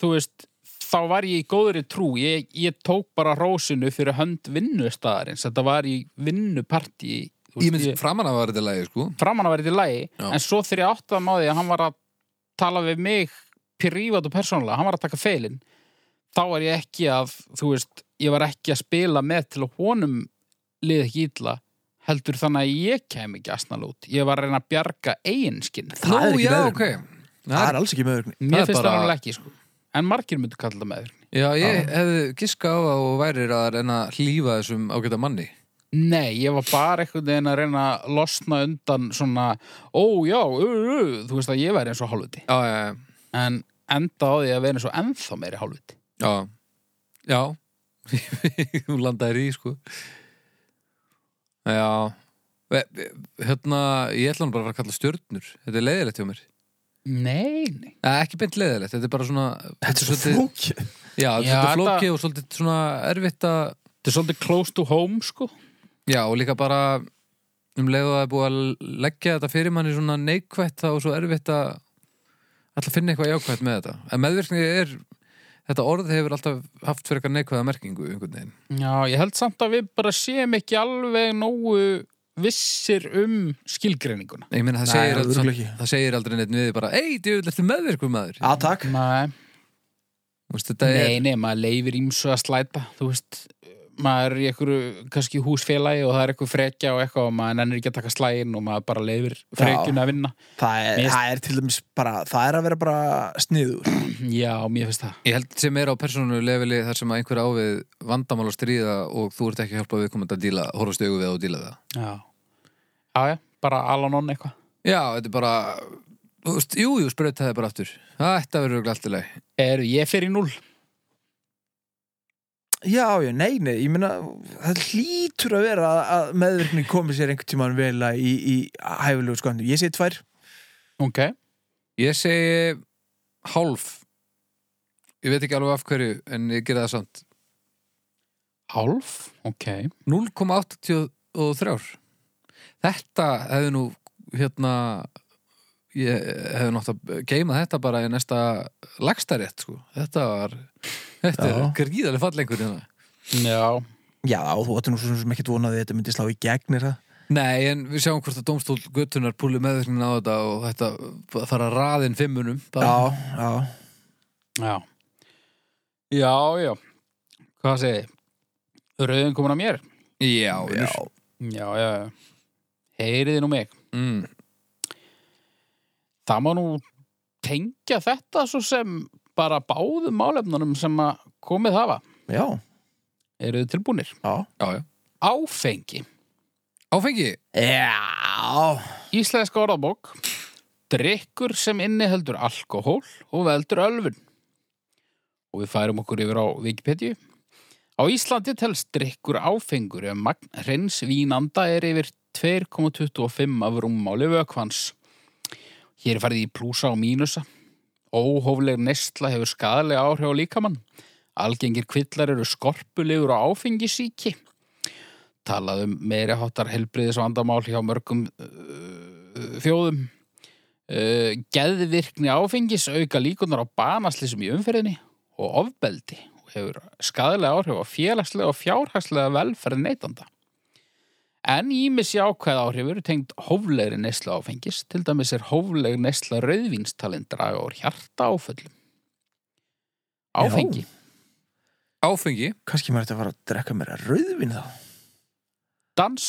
þú veist, þá var ég í góðri trú. Ég, ég tók bara rósinu fyrir hönd vinnustæðarins. Þetta var í vinnupartí. þú Ég veist, mynd framan að var þetta lagi, sko Framan að vera þetta lægi, Já. en svo þegar ég áttaðum á því að hann var að tala við mig prívat og persónulega, hann var að taka feilin. Þá er ég ekki að, þú veist, ég var ekki að spila með til að honum liði ekki illa heldur þannig að ég kem ekki asnal út. Ég var að reyna að bjarga eiginskinn. Það er ekki já, veðrun. ok það Það, er alls ekki meðvirkni Mér er finnst bara- það alveg ekki, sko. En margir myndu kalla það meðvirkni. Já, ég hefði giska á að og værir að reyna að hlífa þessum ágæta manni Nei, ég var bara einhvern veginn að reyna að losna undan svona, ó já, ö, ö, þú veist að ég væri eins og hálfuti. Já, já, já. En enda á því að vera eins og ennþá meiri hálfuti. já Já Hún landaðir í, sko Já Ve- ve- Hérna, ég ætla hann bara að fara að kalla stjörnur Þetta er leiðilegt hjá mér Nei, nei. Nei, ekki beint leiðilegt, þetta er bara svona þetta er svo svolítið- flókið Já, þetta Já, er þetta- flókið og svolítið svona erfitt að Þetta er svolítið close to home, sko. Já, og líka bara um leið og það er búið að leggja þetta fyrir manni svona neikvætt þá er svo erfitt að alltaf finna eitthvað jákvætt með þetta. En meðvirkni er, þetta orð hefur alltaf haft fyrir eitthvað neikvæða merkingu einhvern veginn. Já, ég held samt að við bara séum ekki alveg nógu vissir um skilgreininguna. Ég meina Nei, það segir, örugglega aldrei, ekki. það segir aldrei neitt niður bara, ei, djöfull, ertu meðvirkur maður? að takk Nei, Þú veist, þetta nei, er, nei, maður leifir ímsu að slæta, þú veist maður er í einhverju, kannski húsfélagi og það er eitthvað frekja og eitthvað og maður nennir ekki að taka slægin og maður bara leifir frekjun að vinna það er, Mér- það er til dæmis bara það er að vera bara sniður Já, mér finnst það. ég held sem er á persónu leveli þar sem að einhver ávið vandamál að stríða og þú ert ekki að hjálpa við komandi að díla, horfast augu við það og díla við það. Já. Já, já, bara Alan on eitthvað. Já, þetta er bara, þú veist, jú, jú, sprauta það bara aftur. Þetta verður örugglega allt í lagi. Er ég fyrir núl? já, já, nei, nei, ég meina það hlýtur að vera að, að meðvirkni komi sér einhvern tíman vel að í, í hæfulegu sköndum, ég segi tvær Ok. Ég segi hálf Ég veit ekki alveg af hverju en ég gera það samt Hálf? Ok. 0,83 þetta hefði nú hérna ég hefði nátt að geima þetta bara í næsta lagstarétt sko. þetta var þetta er Já. gríðarlega fallengur hérna. Já, Já, þú ætti nú svo sem ekki vonaði að þetta myndi slá í gegnir það. nei en við sjáum hvort að domstól göttunar púli meðvirknin á þetta og þetta fara raðinn fimmunum bara. Já, já. já Já, já Hvað segi? Rauðin komin að mér? já, já. Já, já, já Heyriði nú mig Mm. Það má nú tengja þetta svo sem bara báðum málefnunum sem að komið hafa Já, Eruðu tilbúnir? já. já, já. Áfengi áfengi Já, Íslenska orðabók Drykkur sem inniheldur alkohól og veldur ölfun og við færum okkur yfir á Wikipedia Á Íslandi telst drykkur áfengur ef magn hreins vínanda er yfir 2,25 af rúmmáli vökvans Hér er farið í plúsa og mínusa Óhófleg nesla hefur skadalega áhrif á líkamann Algengir kvillar eru skorpulegur og áfengisíki talað um meiri háttar helbriðisvandamál hjá mörgum uh, þjóðum uh, geðvirkni áfengis auka líkunar á banaslýsum í umferðinni og ofbeldi og hefur skadalega áhrif á félagslega og fjárhagslega velferð neytanda En ímis jákvæð áhrif eru tengd hóflegri nesla áfengis, til dæmis er hófleg nesla rauðvínstalinn draga úr hjarta áföllum. Áfengi. áfengi kannski maður ætti að fara að drekka mér að rauðvin þá. Dans,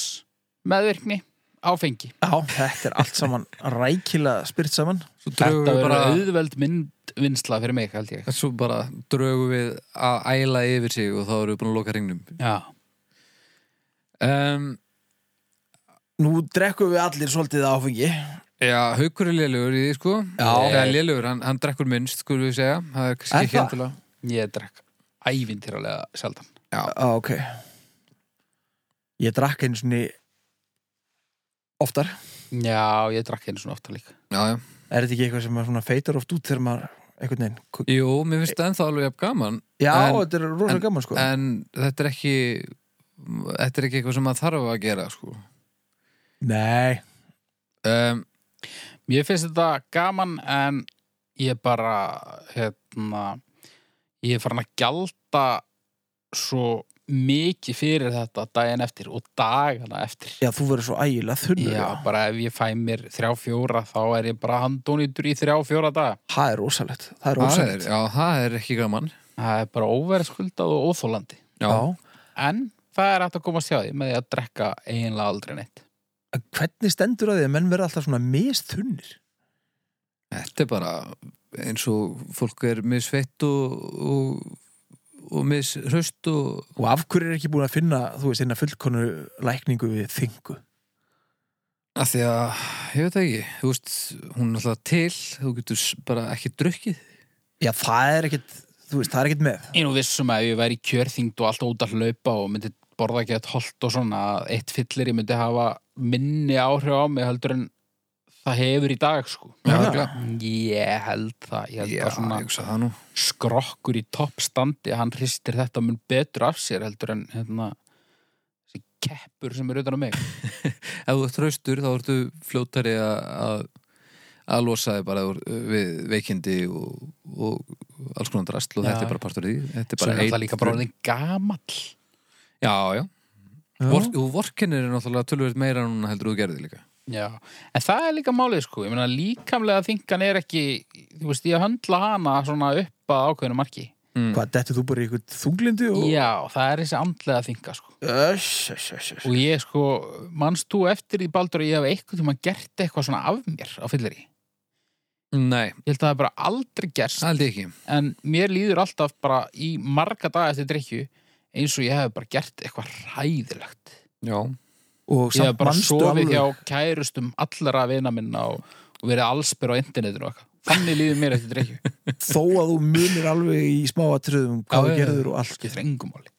meðvirkni, áfengi. Já, þetta er allt saman rækilega spyrt saman. svo Þetta drögum við verður bara auðveld myndvinnsla fyrir mig, held ég. svo bara drögum við að æla yfir sig og þá erum við búin að loka ringnum Já. um, Nú drekkum við allir svolítið áfengi. Já, haukur er lélugur í því sko Já. Eða lélugur, hann, hann drekkur minnst skulum við segja Það er Er kannski ekki það? endilega Ég drekk ævintýralega sjaldan. Já, Ah, ok. Ég drakk einu svona oftar. Já, ég drakk einu svona ofta líka. Já, já Er þetta ekki eitthvað sem maður svona feitar oft út þegar maður einhvern veginn... ku- Jú, mér finnst það ennþá alveg jafn gaman Já, En- þetta er rosalega gaman sko. En þetta er ekki Þetta er ekki eitthvað sem maður þarf að gera sko Nei. um, Mér finnst þetta gaman en ég bara, hérna, ég er farin að gjalda svo mikið fyrir þetta daginn eftir og dagana eftir. Já, þú verður svo ægilega þunnur. Já, bara ef ég fæ mér þrjá fjóra þá er ég bara handónýtur í þrjá fjóra daga. Það er rosalegt. Það er það er, rosalegt. Já, það er ekki gaman Það er bara óverðskuldað og óþólandi. Já, En það er hægt að komast hjá því með því að drekka eiginlega aldrei neitt. En Hvernig stendur að því að menn verða alltaf svona misþunnir? Þetta er bara eins og fólk er misveitt og, og, og misraust og Og af hverju er ekki búin að finna, þú veist, hérna fullkonu lækningu við þingu? að því að, ég veit það ekki, þú veist, hún er alltaf til, þú getur s- bara ekki drukkið. Já, það er ekkit, þú veist, það er ekkit með. Ég er nú vissum að ef ég væri í kjörþyngd og alltaf út að hlaupa og myndi borða ekki að holt og svona að eitt fyllir ég myndi hafa minni áhrif á mig heldur en það hefur í dag sko. Já, örugglega. Ég held það, ég held Já, að svona ég hugsa það nú. skrokkur í toppstandi, hann hristir þetta mun betur af sér heldur en hérna, þessi keppur sem er utan á mig. Ef þú ert hraustur, þá ertu fljótari að, að, að losa þig bara úr- við veikindi og, og alls konar drastl og Já. þetta er bara partur af því. Þetta er Svo bara er það líka bara orðin gamall. Já, já. Vor, og vorkennir er náttúrulega tölvöld meira núna heldur þú gerði líka. Já, en það er líka málið sko, ég meina líkamlega þingan er ekki, þú veist, ég höndla hana svona upp að ákveðinu marki. Mm. Hvað, dettur þú bara í eitthvað þunglindu? Og... Já, það er þessi andlega þinga sko. Öss, öss, öss, öss. Og ég sko, manst þú eftir því Baldur að ég hef eitthvað tíma gert eitthvað svona af mér á fyllir í. Nei, Ég held að það er bara aldrei gerst, held ég ekki. en mér líður alltaf bara í marga daga eftir drikju eins og ég hef bara gert eitthvað ræðilegt. Já. Og Ég hef samt bara mannstu sofið alveg. hjá kærustum allra vina minna og, og verið allsbyr á internetinu og eitthvað. Þannig líður mér eftir drikju. Þó að þú munir alveg í smáatröðum hvað Já, þú já, gerður og allt. Ekki þrengumáli.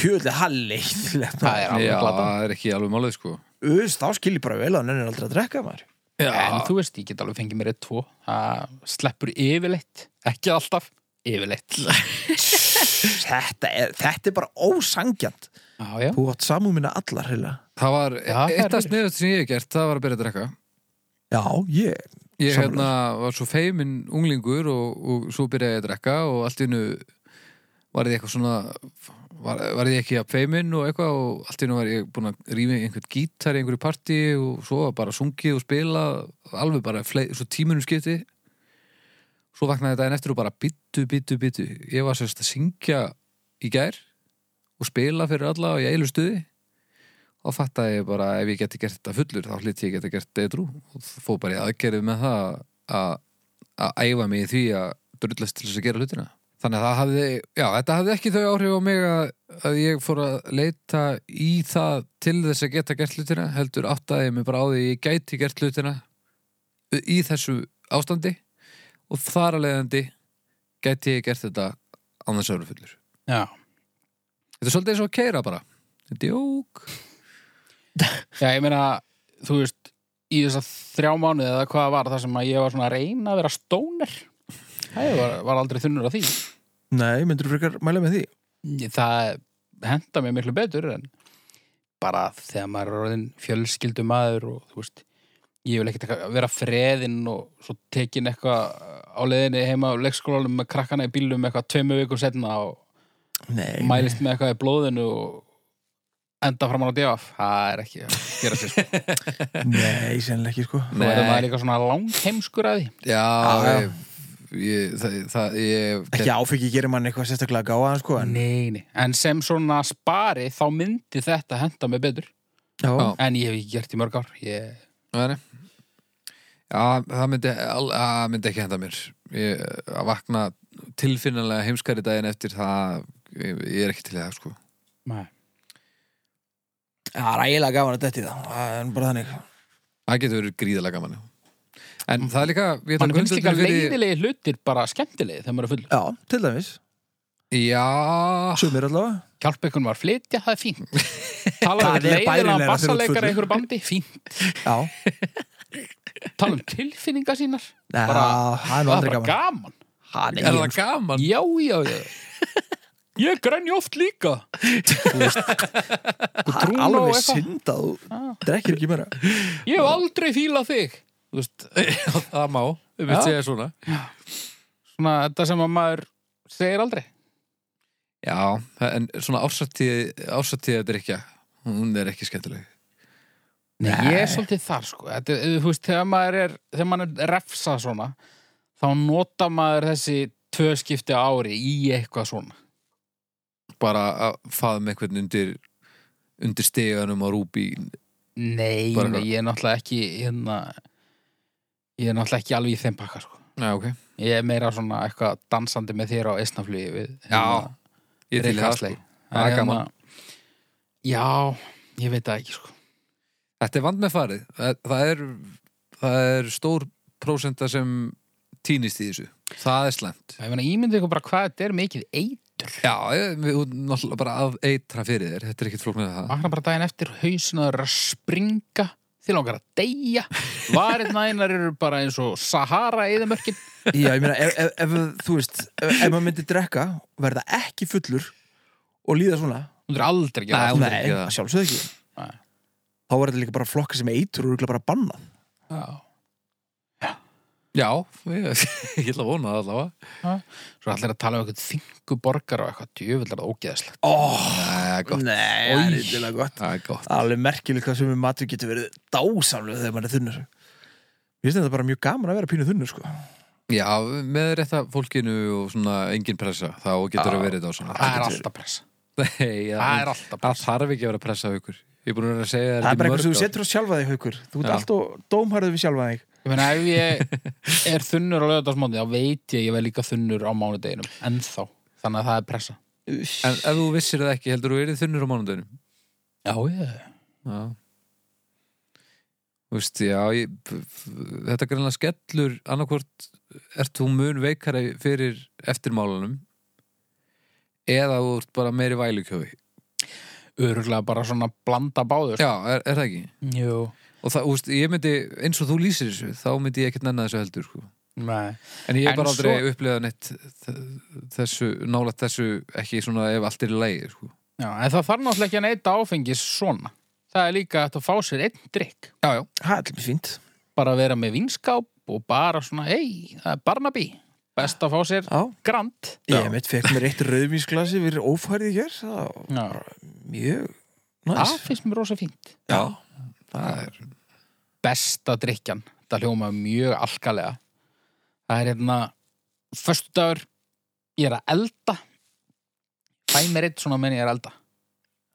Tjöðlega, það er leiðilegt. Það er alveg Já, glata. það er ekki alveg málið sko. Öss, þá skil ég bara vel að hann er aldrei að drekka maður. En þú veist, ég get alveg fengið mér eitt tvo. Það sleppur yfirleitt, ekki alltaf, yfirleitt. Þetta er, þetta er bara ósangjant. Já, já. Þú átt samúmina allar, heila. það var Já, það eitt er- af sniðust sem ég hef gert, það var að byrja að drekka Já, ég, Ég Sammála. hérna var svo feiminn unglingur og, og svo byrjaði ég að drekka og allt í innu var ég eitthvað svona var, var ég ekki að feiminn og eitthvað og allt í innu var ég búin að rýma einhvern gítar í einhverju partí og svo var bara sungið og spila alveg bara flei, svo tímunum skipti svo vaknaði daginn eftir og bara bittu, bittu, bittu ég var sérst að syngja í gær og spila fyrir alla og ég eilu stuði og fattaði ég bara ef ég geti gert þetta fullur þá hlýtt ég geta gert eitrú og það fóð bara í aðgerið með það að, að æfa mig í því að drullast til þess að gera hlutina þannig að það hafði, já, þetta hafði ekki þau áhrif á mig að, að ég fór að leita í það til þess að geta gert hlutina heldur áttaði ég mig bara á því að ég gæti gert hlutina í þessu ástandi og þar að leiðandi gæti ég gert þetta án þess að vera fullur Já. þetta er svolítið eins og að keira bara þetta er jók Já, ég meina, þú veist, í þess að þrjá mánuði eða hvað var það sem að ég var svona að reyna að vera stóner. Það var, var aldrei þunnur að því. nei, myndur frekar mæla með því Ég- Það henda mér miklu betur en bara þegar maður er orðin fjölskyldumæður og þú veist, ég vil ekkert eitthvað vera freðinn og svo tekin eitthvað á leiðinni heima á leikskólanum með krakkana í bílum eitthvað tveimu vikur setna og Nei, mælist með eitthvað í blóðinu og enda fram á divaf. Það er ekki að gera sér sko. nei, sennilega ekki sko Svo verður Nei. maður líka svona langheimskur að því. Já, Já, já. ég, ég, það, það, ég Ekki áfengi gerir mann eitthvað sérstaklega gáðan sko en, Nei, nei. En sem svona spari þá myndi þetta henda mig betur. já, Já. En ég hef ekki gert í mörg ár. Ég... Nei, nei. Já, það myndi, al, að, myndi ekki henda mér ég, að vakna tilfinnilega heimskari daginn eftir það ég, ég er ekki til í það sko Nei. Það er ægilega gáðan að detti það Það er bara þannig það getur verið gríðalega gaman já. Mm. en það er líka ég held að Man finnst líka grundvöllur fyrir- leiðilegi hlutir bara skemmtilegi þegar maður er full. Já, til dæmis, Já, sumir allavega Hjálpa einhvern var að flytja, það er fínt. Tala um Það er leiðilega bærilegra þegar þú ert fullur. bassaleikar í einhverju bandi, fínt. Já, Tala um tilfinningar sínar. Nei, Bara- það er nú Það aldrei er bara gaman gaman. Ha, nei, sko. er ég- það gaman? Já, já, já. Ég grænja oft líka. Þú veist, Það er trúna og alveg eitthvað. synd að þú Ah. drekkir ekki meira ég hef aldrei fílað þig. Þú veist, það má, við Já. vilt segja svona svona þetta sem að maður segir aldrei. Já, en svona ársatið ársatið að drikja, hún er ekki skemmtileg Nei, ég er svolítið þar sko Þetta, er- Þú veist, þegar maður er, þegar maður er refsa svona þá nota maður þessi tvö skipti á ári í eitthvað svona bara að faða með einhvern undir undir steganum á rúbín Nei, Bara nei hvað? ég er náttúrulega ekki hérna, ég er náttúrulega ekki alveg í þeim pakka sko Já, ok Ég er meira svona eitthvað dansandi með þér á eisnaflugi við hérna, Já, Ég til í það sko Reykjavík. það er gaman. hérna, Já, ég veit það ekki sko Þetta er vand með farið. Það, það, er, það er stór prósenta sem týnist í þessu. Það er slæmt. Ég meina, ímyndið ykkur bara hvað þetta er mikið eitur Já, ég- við þú náttúrulega bara að eitra fyrir þér. Þetta er ekkit flóknir það. Vakna bara daginn eftir, hausin að springa, þið langar að deyja, varirna einar eru bara eins og Sahara eðamörkin. Já, ég meina, ef, ef, ef þú veist ef, ef maður myndi drekka, verða ekki fullur og líða svona Hún er aldrei ekki Nei, hún- er Nei, ekki það. að sjálfsögðu ekki Nei. Þá var þetta líka bara flokka sem eitur og örugglega bara bannað Já, ég, ég ætla að vona það allavega. Svo allir að tala um eitthvað þingu borgar og eitthvað djöfildar og ógeðslegt. oh, Það er gott. Nei, Oj. það er yllilega gott Það er gott. Alveg merkilegt hvað sem við matur getur verið dásamlega þegar maður er þunnur Ég finnst þetta bara mjög gaman að vera pínu þunnur sko. Já, með rétta fólkinu og svona engin pressa, þá getur það verið á svona. Það er alltaf pressa. Nei, já, Það er alltaf það pressa. þarf ekki að vera pressa á ykkur. Ég er búin að vera að segja Það er bara í eitthvað sem mörg þú ár. setur á sjálfa þig haukur Þú ert Já. alltaf dómharðið við sjálfa þig Ég meina, ef ég er þunnur á lögðarsmóndi, þá veit ég ég verð líka þunnur á mánudeginum, ennþá. Þannig að það er pressa. En ef þú vissir það ekki, heldur þú verið þunnur á mánudöðinu? Já, ég. Já Þú veist, já ég, þetta greinlega skellur annarkvort ert þú mun veikari fyrir eftirmálunum eða þú ert bara meiri vælukjófi Öruglega bara svona blanda báður. Já, er, er það ekki? Jú. Og það, þú veist, ég myndi, eins og þú lýsir þessu þá myndi ég ekkert nenna þessu heldur sko. Nei. En ég En hef bara aldrei svo- svo... upplegað neitt þ- þessu, nálægt þessu ekki svona ef allt er í lægi sko. Já, en það þarf náttúrulega ekki að neyta áfengis svona. það er líka hægt að fá sér einn drikk já, já, Það er alveg fínt. bara að vera með vinskáp og bara svona, hei, það er Barnaby best að fá sér Já. Grand Ég mitt fekk mér eitt rauðvínsglasi við ófærið hér. Það var Já. mjög það næs. finnst mér rosa fínt Já. það er besta drikjan, það hljóma mjög alkalega það er hérna föstudagur ég er að elda fæ mér eitt svona menn ég er að elda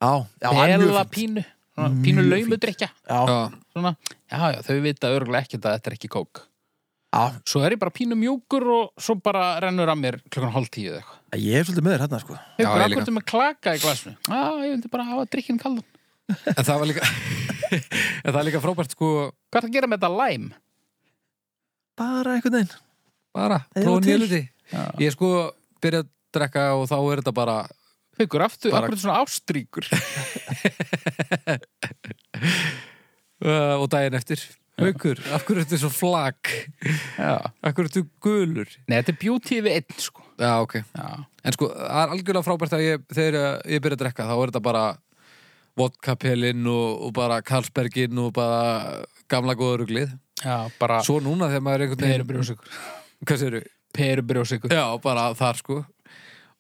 Já, já, það er bela mjög fínt. pínu, svona, pínu Mjög laumudrykja Já, já, svona, já, já, þau vita örgulega ekkert að þetta er ekki kók já, svo er ég bara pínu mjúkur og svo bara rennur að mér klukkan hálf tíu eða eitthvað ég er svolítið með þér hérna, sko. Já, Haukur, ég akkur líka. ertu með klaka í glasinu? Já, ég vildi bara hafa drikkinn kaldan. en það var líka en það er líka frábært sko Hvað er að gera með þetta læm? Bara einhvern veginn. bara, Það er prófa til. nýja hluti ég er sko byrja að drekka og þá er þetta bara Haukur, aftur, bara... Bara- akkur er svona ástríkur? uh, og daginn eftir haukur, af hverju ertu svo flak Já. af hverju ertu gulur Nei, þetta er beauty við einn, sko. já, ok, Já. en sko, það er algjörlega frábært að ég, þegar ég byrja að drekka þá er þetta bara vodkapelin og, og bara Karlsbergin og bara gamla góður uglið Já, bara svo núna þegar maður er einhvern veginn perubrjósikur. hvað segirðu? Perubrjósikur. Já, bara þar sko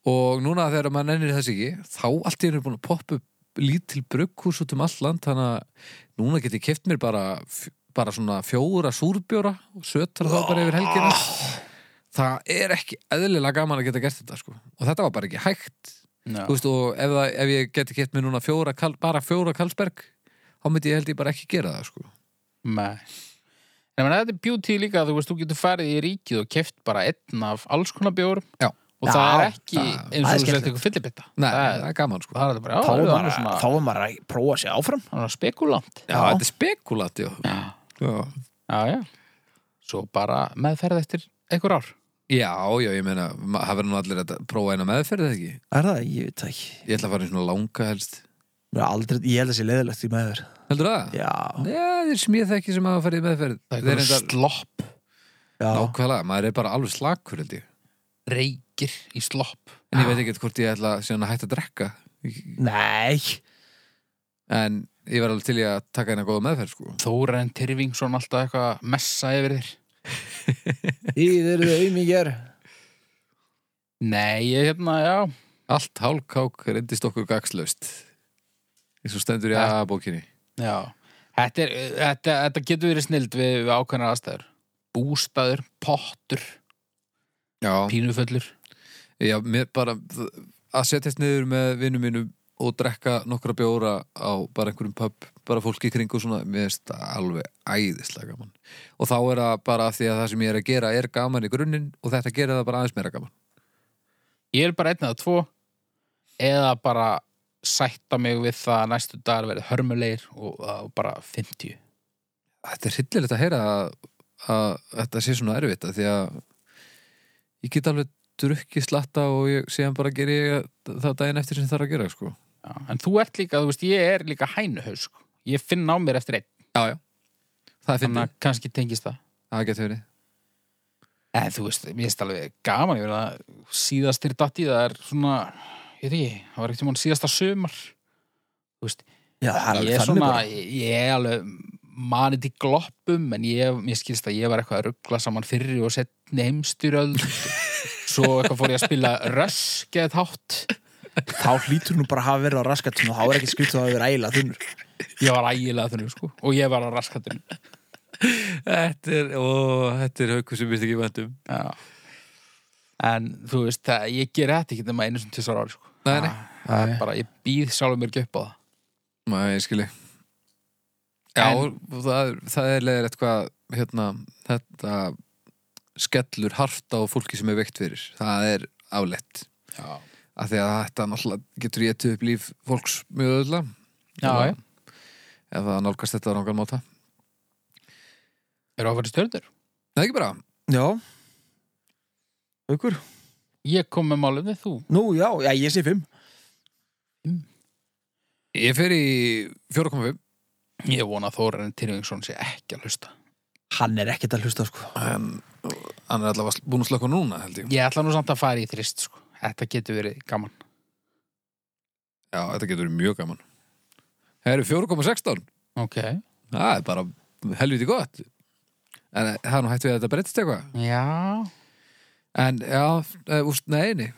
og núna þegar maður nennir þess ekki þá allt í einu er búin að poppa upp lítil brugghús út um allt land þannig að núna get ég keft mér bara f- bara svona fjóra súrbjóra og sötra þá bara yfir helgina Ah. það er ekki eðlilega gaman að geta gert þetta sko og þetta var bara ekki hægt Já. Þú veist, og ef, það, ef ég geti keft mér núna fjóra, kal, bara fjóra kalsberg þá myndi ég held ég bara ekki gera það sko Nei. Nei, menn, þetta er beauty líka, þú veist, þú getur farið í ríkið og keft bara einn af alls konar bjórum. Já. Og það Já, er ekki það- það er eins og þú sett skemmtilegt. eitthvað fyllibitta. Nei, það, það er- er gaman sko það er þetta bara, já, Þá er það er maður að- svona, þá er maður að prófa sig áfram. svona spekulant. Já, Já. þetta er spekulat, já. Já. Já, já. Svo bara meðferð eftir einhver ár. Já, já, ég meina, ma- það verður nú allir að prófa eina meðferð, eða ekki? Er það? Ég veit það ekki. Ég ætla að fara í svona langa helst. Mér er Aldrei, ég held að sé leðilegt í meður. Heldur það? Já, Já, þeir sem ég þekki sem hafa farið í meðferð. Það Þeir er einhver reyndar- slopp, já. Nákvæmlega, maður er bara alveg slakur, held ég. reykir í slopp. En ég veit ekkert hvort ég ætla síðan að hætta að drekka. Nei. En ég var alveg til ég að taka eina góða meðferð, sko. Þóren Tyrfingsson alltaf eitthvað að messa yfir þér. Þið eru þau mingjar. Nei, ég hérna, já. Allt hálkák reyndist okkur gagslaust. Eins og stendur í Ja. A-bókinni. já. Þetta, er, þetta, þetta getur verið snild við, við ákveðnar aðstæður. Bústæður, pottur, Já, pínuföllur. já mér bara að setjast niður með vinnum mínum og drekka nokkra bjóra á bara einhverjum pub, bara fólki í kring og svona, mér finnst það alveg æðislega gaman og þá er það bara af því að það sem ég er að gera er gaman í grunninn og þetta gera það bara aðeins meira gaman Ég er bara einn eða tvo eða bara sætta mig við það að næstu dagar verið hörmulegir og, og bara 50. Þetta er hryllilegt að heyra að, að þetta sé svona erfitt að því að ég get alveg drukki slatta og ég séðan bara geri ég það daginn eftir sem þarf að gera sko. Já. En þú ert líka, þú veist, ég er líka hænuhaus. sko. Ég finn á mér eftir einn. Það er Þannig fyndið, að kannski tengist það. það getur verið En þú veist, mér finnst alveg gaman, ég verða síðastir datti, það er svona, ég veit ekki, það var ekkert mann síðasta sömar. Þú veist, Já, það er ég alveg er þannig svona, bara. ég ég er alveg manið í gloppum, en ég, mér skilst að ég var eitthvað að ruggla saman fyrri og setni heimstyröld. Svo eitthvað fór ég að spila röss, geðið hátt. Þá hlýtur nú bara að hafa verið á raskatunum og þá er ekki skrýtt að það verið ægilega þunnur. Ég var ægilega þannig, sko, og ég var á raskatunum. Þetta er, ó, þetta er haukur sem við ekki um. vendum Já. En þú veist, það, ég ger þetta ekki nema einu sem tvisar ári, sko. Nei, nei. Það er bara, ég býð sjálfur mér ekki upp á það. Nei, ég skilji Já, En- það, er- það er leiðir eitthvað hérna, þetta skellur hart á fólki sem er veikt fyrir það er aflett Já. af því að þetta náttúrulega getur ég upp líf fólks mjög öðla Já, já. ef það nálgast þetta á rangan máta Eru að fara í stjörnur? Nei, ekki bara, Já. Aukur? Ég kom með málefni, þú. Nú, já, já, ég sé fimm. ég fer í 4.5 Ég vona að Þórarinn Tyrfingsson sé ekki að hlusta. Hann er ekkert að hlusta, sko. en hann er allavega búin að slökka núna held ég Ég ætla nú samt að fara í þrist, sko. Þetta getur verið gaman. Já, þetta getur verið mjög gaman Það eru 4,16 ok. Það er bara helviti gott En eh, það er nú hægt við að þetta breytist eitthvað Já, En já, eh, úst, nei, nei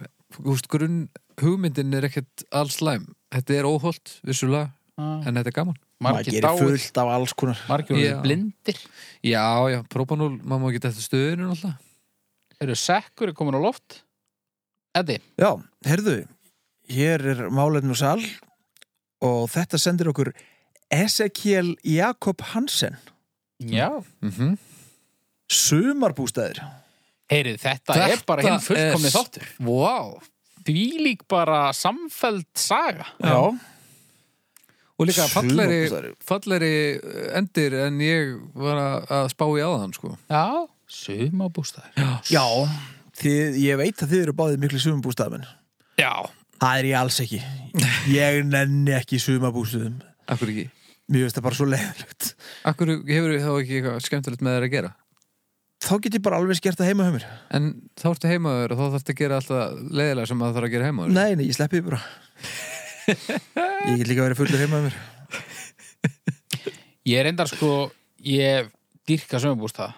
úst, grunn hugmyndin er ekkert allslæm Þetta er óholt, vissulega já. En þetta er gaman maður Ah, margir gerir dáið, fullt af alls konar margir Já. eru blindir. Já, já, propanól, maður má ekki þetta stöðinu alltaf Eru sekkur komin á loft? Eddi, Já, herðu, hér er málefn og sal og þetta sendir okkur Ezekiel Jakob Hansen já. mm Sumarbústæðir Heyrið, þetta, er bara Þetta hinn fullkomni er- þáttur. Vá Því lík bara samfeld saga. Já, Og líka fallegri, Sumarbústaðir. fallegri eh, endir en ég var að- að spá í aðan sko. Já, sumabústæður. Já, þið, ég veit að þið eru báðið miklu sumarbústæðamenn Já. Það er ég alls ekki Ég nenni ekki sumarbústæðum Akkur ekki Mér finnst það bara svo leiðilegt Akkur hefur þá ekki eitthvað skemmtilegt með þér að gera Þá get ég bara alveg skert það heima hjá mér En þá ertu heimaður og þá þarftu að gera alltaf leiðilega sem maður þarf að gera heimaður Nei, nei, ég sleppi því bara Ég get líka verið fullur heima hjá mér Ég er endar sko, ég dyrka sumabústæða,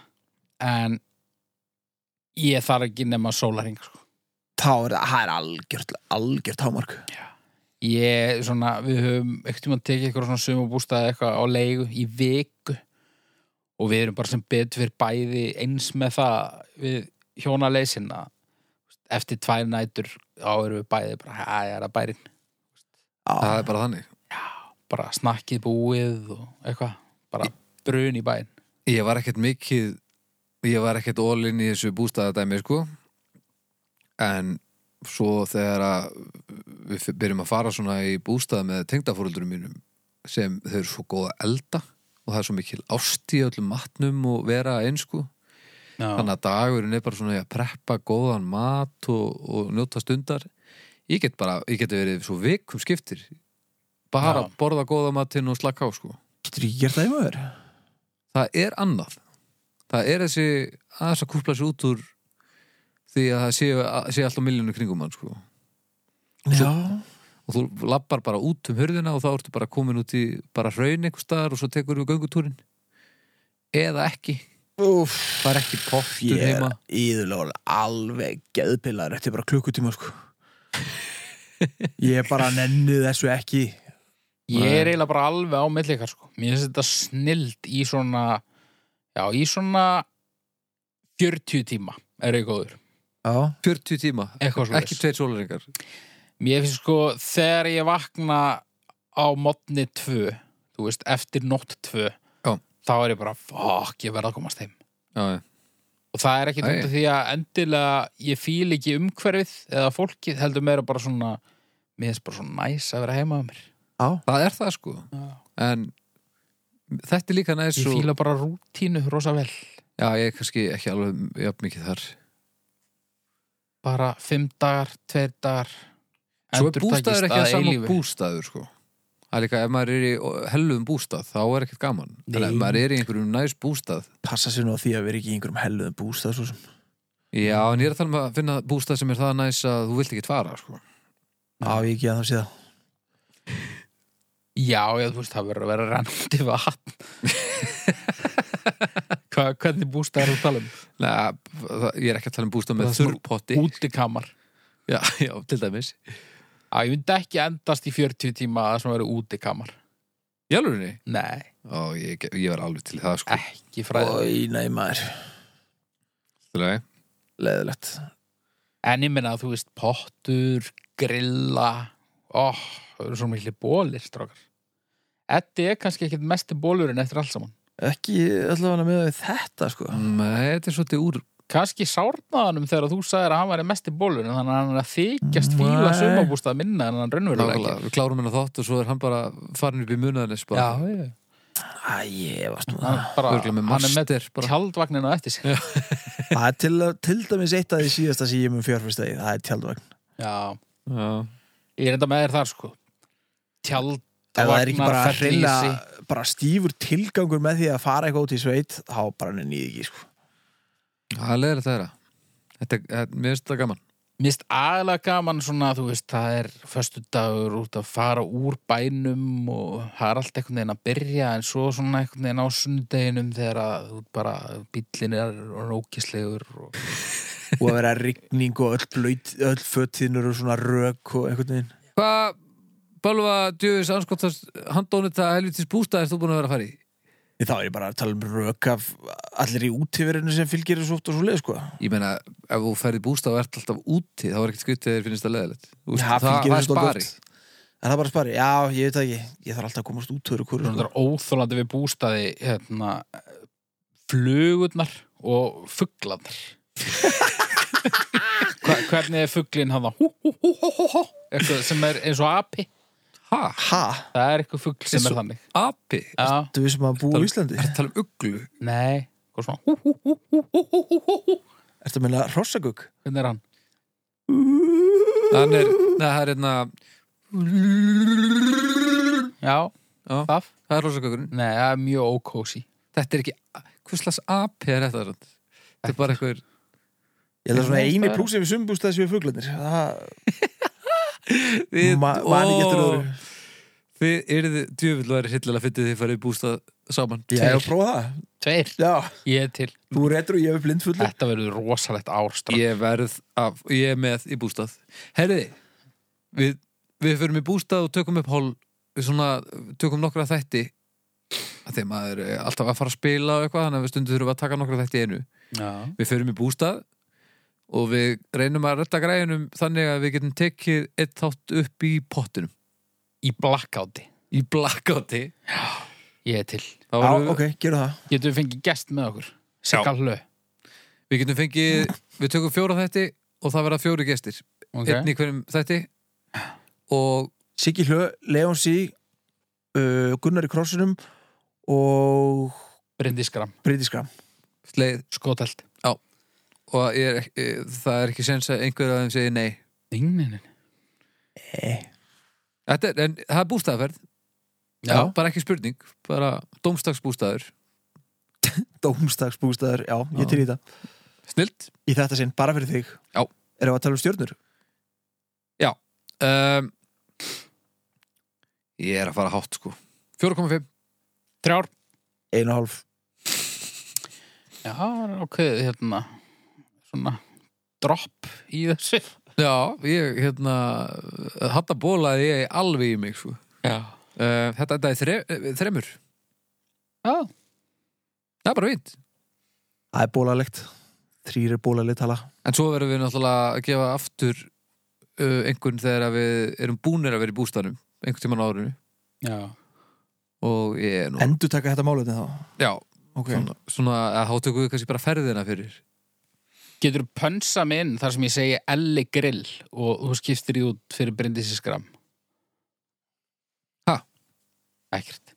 en ég þarf ekki nema sólaring, sko. Þá er það, það er algjört, algjört hámark Ég, svona, við höfum ekkert tíma að tekið eitthvað svona sumabústæði eitthvað á leigu í viku og við erum bara sem betur fyrir bæði eins með það við hjónaleysin að eftir tvær nætur þá erum við bæði bara, "Ha, ég er að bærin Já, Það er bara þannig bara snakkið búið og eitthvað, bara brun í bæinn Ég var ekkert mikið Ég var ekkert ólinn í þessu bústæðadæmi sko En svo þegar að við f- byrjum að fara svona í bústæða með tengdafóruldurum mínum sem þau eru svo góða elda og það er svo mikil ást í öllum matnum og vera eins sko Já, þannig að dagurinn er bara svona í að preppa góðan mat og, og njóta stundar ég get bara, ég get verið svo vikum skiptir bara Já. borða góða matinn og slaka á sko getur ekki gert það heima hjá mér það er annað það er þessi aðeins að kúpla sér út úr því að það sé, sé alltaf miljónu kringum hann sko og Já þú lappar bara út um hörðina og þá ertu bara komin út í bara hraun einhver staðar og svo tekur við göngutúrin eða ekki, Úff, það er ekki pottur ég er heima íðurlega alveg geðpilar eftir bara klukkutíma sko. Ég bara nenni þessu ekki ég er eiginlega bara alveg á milli ykkar sko. Mér finnst þetta snild í svona já, í svona 40 tíma er ég góður. Já, 40 tíma, Eitthvað svo ekki tveir sólaringar Mér finnst sko þegar ég vakna á modni tvö, þú veist, eftir nótt tvö, Já. þá er ég bara, fuck, ég verð að komast heim. já, já Og það er ekki Æi. út af því að endilega ég fíl ekki umhverfið eða fólkið heldur meira bara svona, mér finnst bara svona næs að vera heima að mér. já, Það er það sko En þetta er líka næst Ég svo fíla bara rútínu rosa vel. Já, ég er kannski ekki alveg jafn mikið þar Bara fimm dagar, tveir dagar, Svo er endurtakist bústæður ekki að að sama eilífu. bústæður sko Það er líka, ef maður er í helluðum bústað þá er ekkert gaman En Nei. ef maður er í einhverjum næst bústað passa sér nú á því að vera ekki í einhverjum helluðum bústað svo sem Já, en ég er að tala um að finna bústað sem er það næst að þú vilt ekki fara sko Já, ég ekki að það sé það Já, já, þú veist, það verður að vera rennandi vatn. Hva, hvernig bústæður þú tala um? Nei, það, ég er ekki að tala um bústað Það með er svona þurrpotti Útikamar. já, já, til dæmis Já, ég myndi ekki endast í 40 tíma að það sem verður útikamar. Jálfurinni? Nei, Ó, ég, ég var alveg til það sko ekki fræðið. Í nei maður, Æ. leiðilegt En ég minna að þú veist, pottur, grilla, ó, það eru svo miklu bólir, strákar. Eddi er kannski ekkit mesti bólurinn eftir allt saman. Ekki allavega með við þetta sko Nei, þetta er svolítið úr Kannski sárnaðanum þegar þú sagðir að hann væri mesti bólurinn, þannig að hann er að þykjast fíla Nei. sumabústað minna en hann raunverulega Nákvæmlega, ekki. við klárum hennar þátt og svo er hann bara farin upp í munaðinnes bara, Já, já, já. Æ, ég varst nú um hann, það er bara, Örugglega með hann er með master bara. tjaldvagninu á eftir sér. Það er til, til dæmis eitt af því síðasta sem ég mun fjárfyrst að það er tjaldvagn Já, Já. ég er enda með þér þar sko Tjald Ef það er ekki bara vagnar, hreina, fellihýsi. bara stífur tilgangur með því að fara eitthvað út í sveit þá bara nenni ég ekki sko Það er leður þetta þeirra Þetta, þetta- mér finnst þetta gaman mist aðalega gaman svona, þú veist, það er föstudagur út að fara úr bænum og það er allt einhvern veginn að byrja en svo svona einhvern veginn á sunnudeginum þegar að þú bara, bíllinn er rókislegur og og að vera rigning og öll, blöyt, öll fötinur og svona rök og einhvern veginn Hvað, Bálfa, djöfis, anskottast, handónita, helvitis bústað er þú búin að vera að fara í? Ég, þá er ég bara að tala um rök af allir í útíverinu sem fylgir þessu oft og svo leið sko Ég meina, ef þú ferði bústað og ert alltaf úti, þá er ekkert skrítið þegar þér finnst það leðilegt. Já, fylgir það, það er þessu dálítið spari. oft. Er það bara spari? Já, ég veit það ekki, ég þarf alltaf að komast út úr hverju það sko. er óþólandi við bústaði hérna, flugurnar og fuglarnar Hva- Hvernig er fuglinn hann þá? Hú, hú, hú, hú, hú, hú. Eitthvað sem er eins og api Ha, Ha? Það er eitthvað fugl sem Eins er og- þannig api? Já, Þú veist maður að búa í Íslandi? Er það tala um ugglu? nei, hvað svona hú, hú, hú, hú, hú, hú, hú, hú, hú. Ertu að meina hrossagugg? Hvernig er hann? Þannig er, neða, það er hérna, Já, Já. það? það er rosakökurinn. Nei, það er mjög ókósi Þetta er ekki, hvers slags api er þetta? Rönd? Þetta er bara eitthvað, Ég held að svona Nei, eini það er- plúsið við sumbústæði séu fuglanir Það við, ma mani ekki eftir öðru Þið eruð djöfull væri hryllilega fyndið þið farið í bústað saman. Ég hef að prófa það Tveir, Já, ég er til þú er rettur og ég hef blindfullur Þetta verður rosalegt árstra Ég verð af, ég er með í bústað. Herði, við, við förum í bústað og tökum upp hól, við svona tökum nokkra þætti, að því að maður er alltaf að fara að spila og eitthvað, þannig að við stundum þurfum að taka nokkra þætti í einu. Já, Við förum í bústað og við reynum að redda græjunum þannig að við getum tekið eitt þátt upp í pottinum, í blackouti í blackouti. Ég er til Þá Já, erum við- ok, gerum það Getum við fengið gest með okkur Sigga hlö Við getum fengið, við tökum fjóra þætti og það verða fjóri gestir Ok. okay. einn í hverjum þætti og Siggi Hljö, Leon Sí uh, Gunnar í krossinum og Brindiskram, Brítiskram sleið skotelt og ég er, ekki- e, það er ekki sens að einhverju af þeim segir nei Dingnin Þetta er, en það er bústæðaferð Já. bara ekki spurning, bara dómstagsbústæður Dómstagsbústæður, já, Já. ég til í þetta snilt Í þetta sinn, bara fyrir þig Já. Erum við að tala um stjörnur? um, Ég er að fara hátt sko 4,5 Þrjár Einu og hálf Já, ok, hérna Svona drop í þessu Já, ég hérna hatta bólaði ég alveg í mig sko. Já uh, Þetta þetta er þre, eh, þremur Já, Það er bara fínt Það er bólalegt Þrýr er bólalegt tala En svo verðum við náttúrulega að gefa aftur uh, einhvern þegar að við erum búnir að vera í bústanum einhvern tímann á árinu já og ég er nú Endur taka þetta málefni þá já, Ok, svona, svona að þá tökum við kannski bara ferðina fyrir Getur pönsa mig inn þar sem ég segi Elli grill og þú skiptir í út fyrir Brindiskram Ha? Ekkert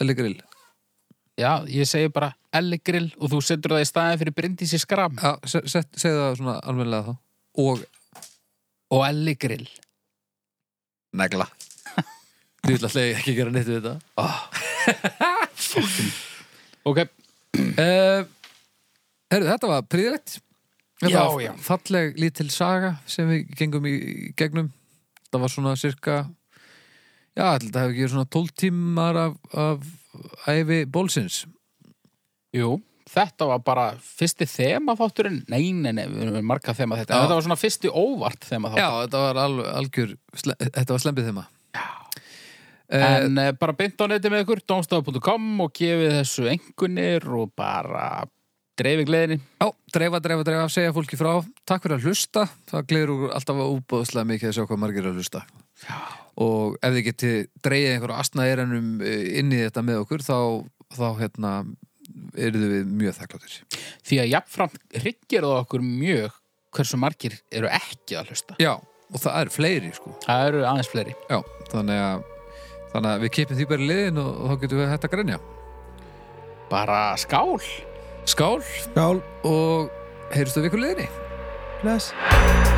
Elli Grill Já, ég segi bara Elli Grill og þú setur það í staðin fyrir Bryndísi Skram Já, se- set- segðu það svona almennilega þá og og Elli Grill. negla Þú vil alltaf ekki gera neitt við þetta Ok, uh, Herru, þetta var príðilegt Þetta Já, var já. falleg lítil saga sem við gengum í í gegnum Það var svona cirka Já, ætli þetta hefur ekki verið svona 12 tímar af, af æfi bólsins jú, þetta var bara fyrsti þemafátturinn. Nei, nei, nei, við erum með marga þema þetta. Já. Þetta var svona fyrsti óvart Já, þemafátturinn. þetta var al, algjör sle, Þetta var slembið Eh, þeim að En uh, bara beint á neti með ykkur, domstafu.com og gefið þessu engunir og bara dreifir gleðinni. Já, dreifa, dreifa, dreifa, segja fólki frá Takk fyrir að hlusta, það gleður úr alltaf að úbóðslega mikið að sjá hvað margir eru að hlusta Já. og ef þið geti dreigið einhverja astna eranum eh, inn í þetta með okkur þá, þá hérna eruðu við mjög þakkláttir Því að jafnframt hryggir það okkur mjög hversu margir eru ekki að hlusta. Já, og það eru fleiri sko Það eru aðeins fleiri. Já, þannig að, þannig að við kipum því bara í liðin og, og þá getum við hægt að grenja Bara skál! Skál Skál, og heyristu við ykkur liðinni bless Bless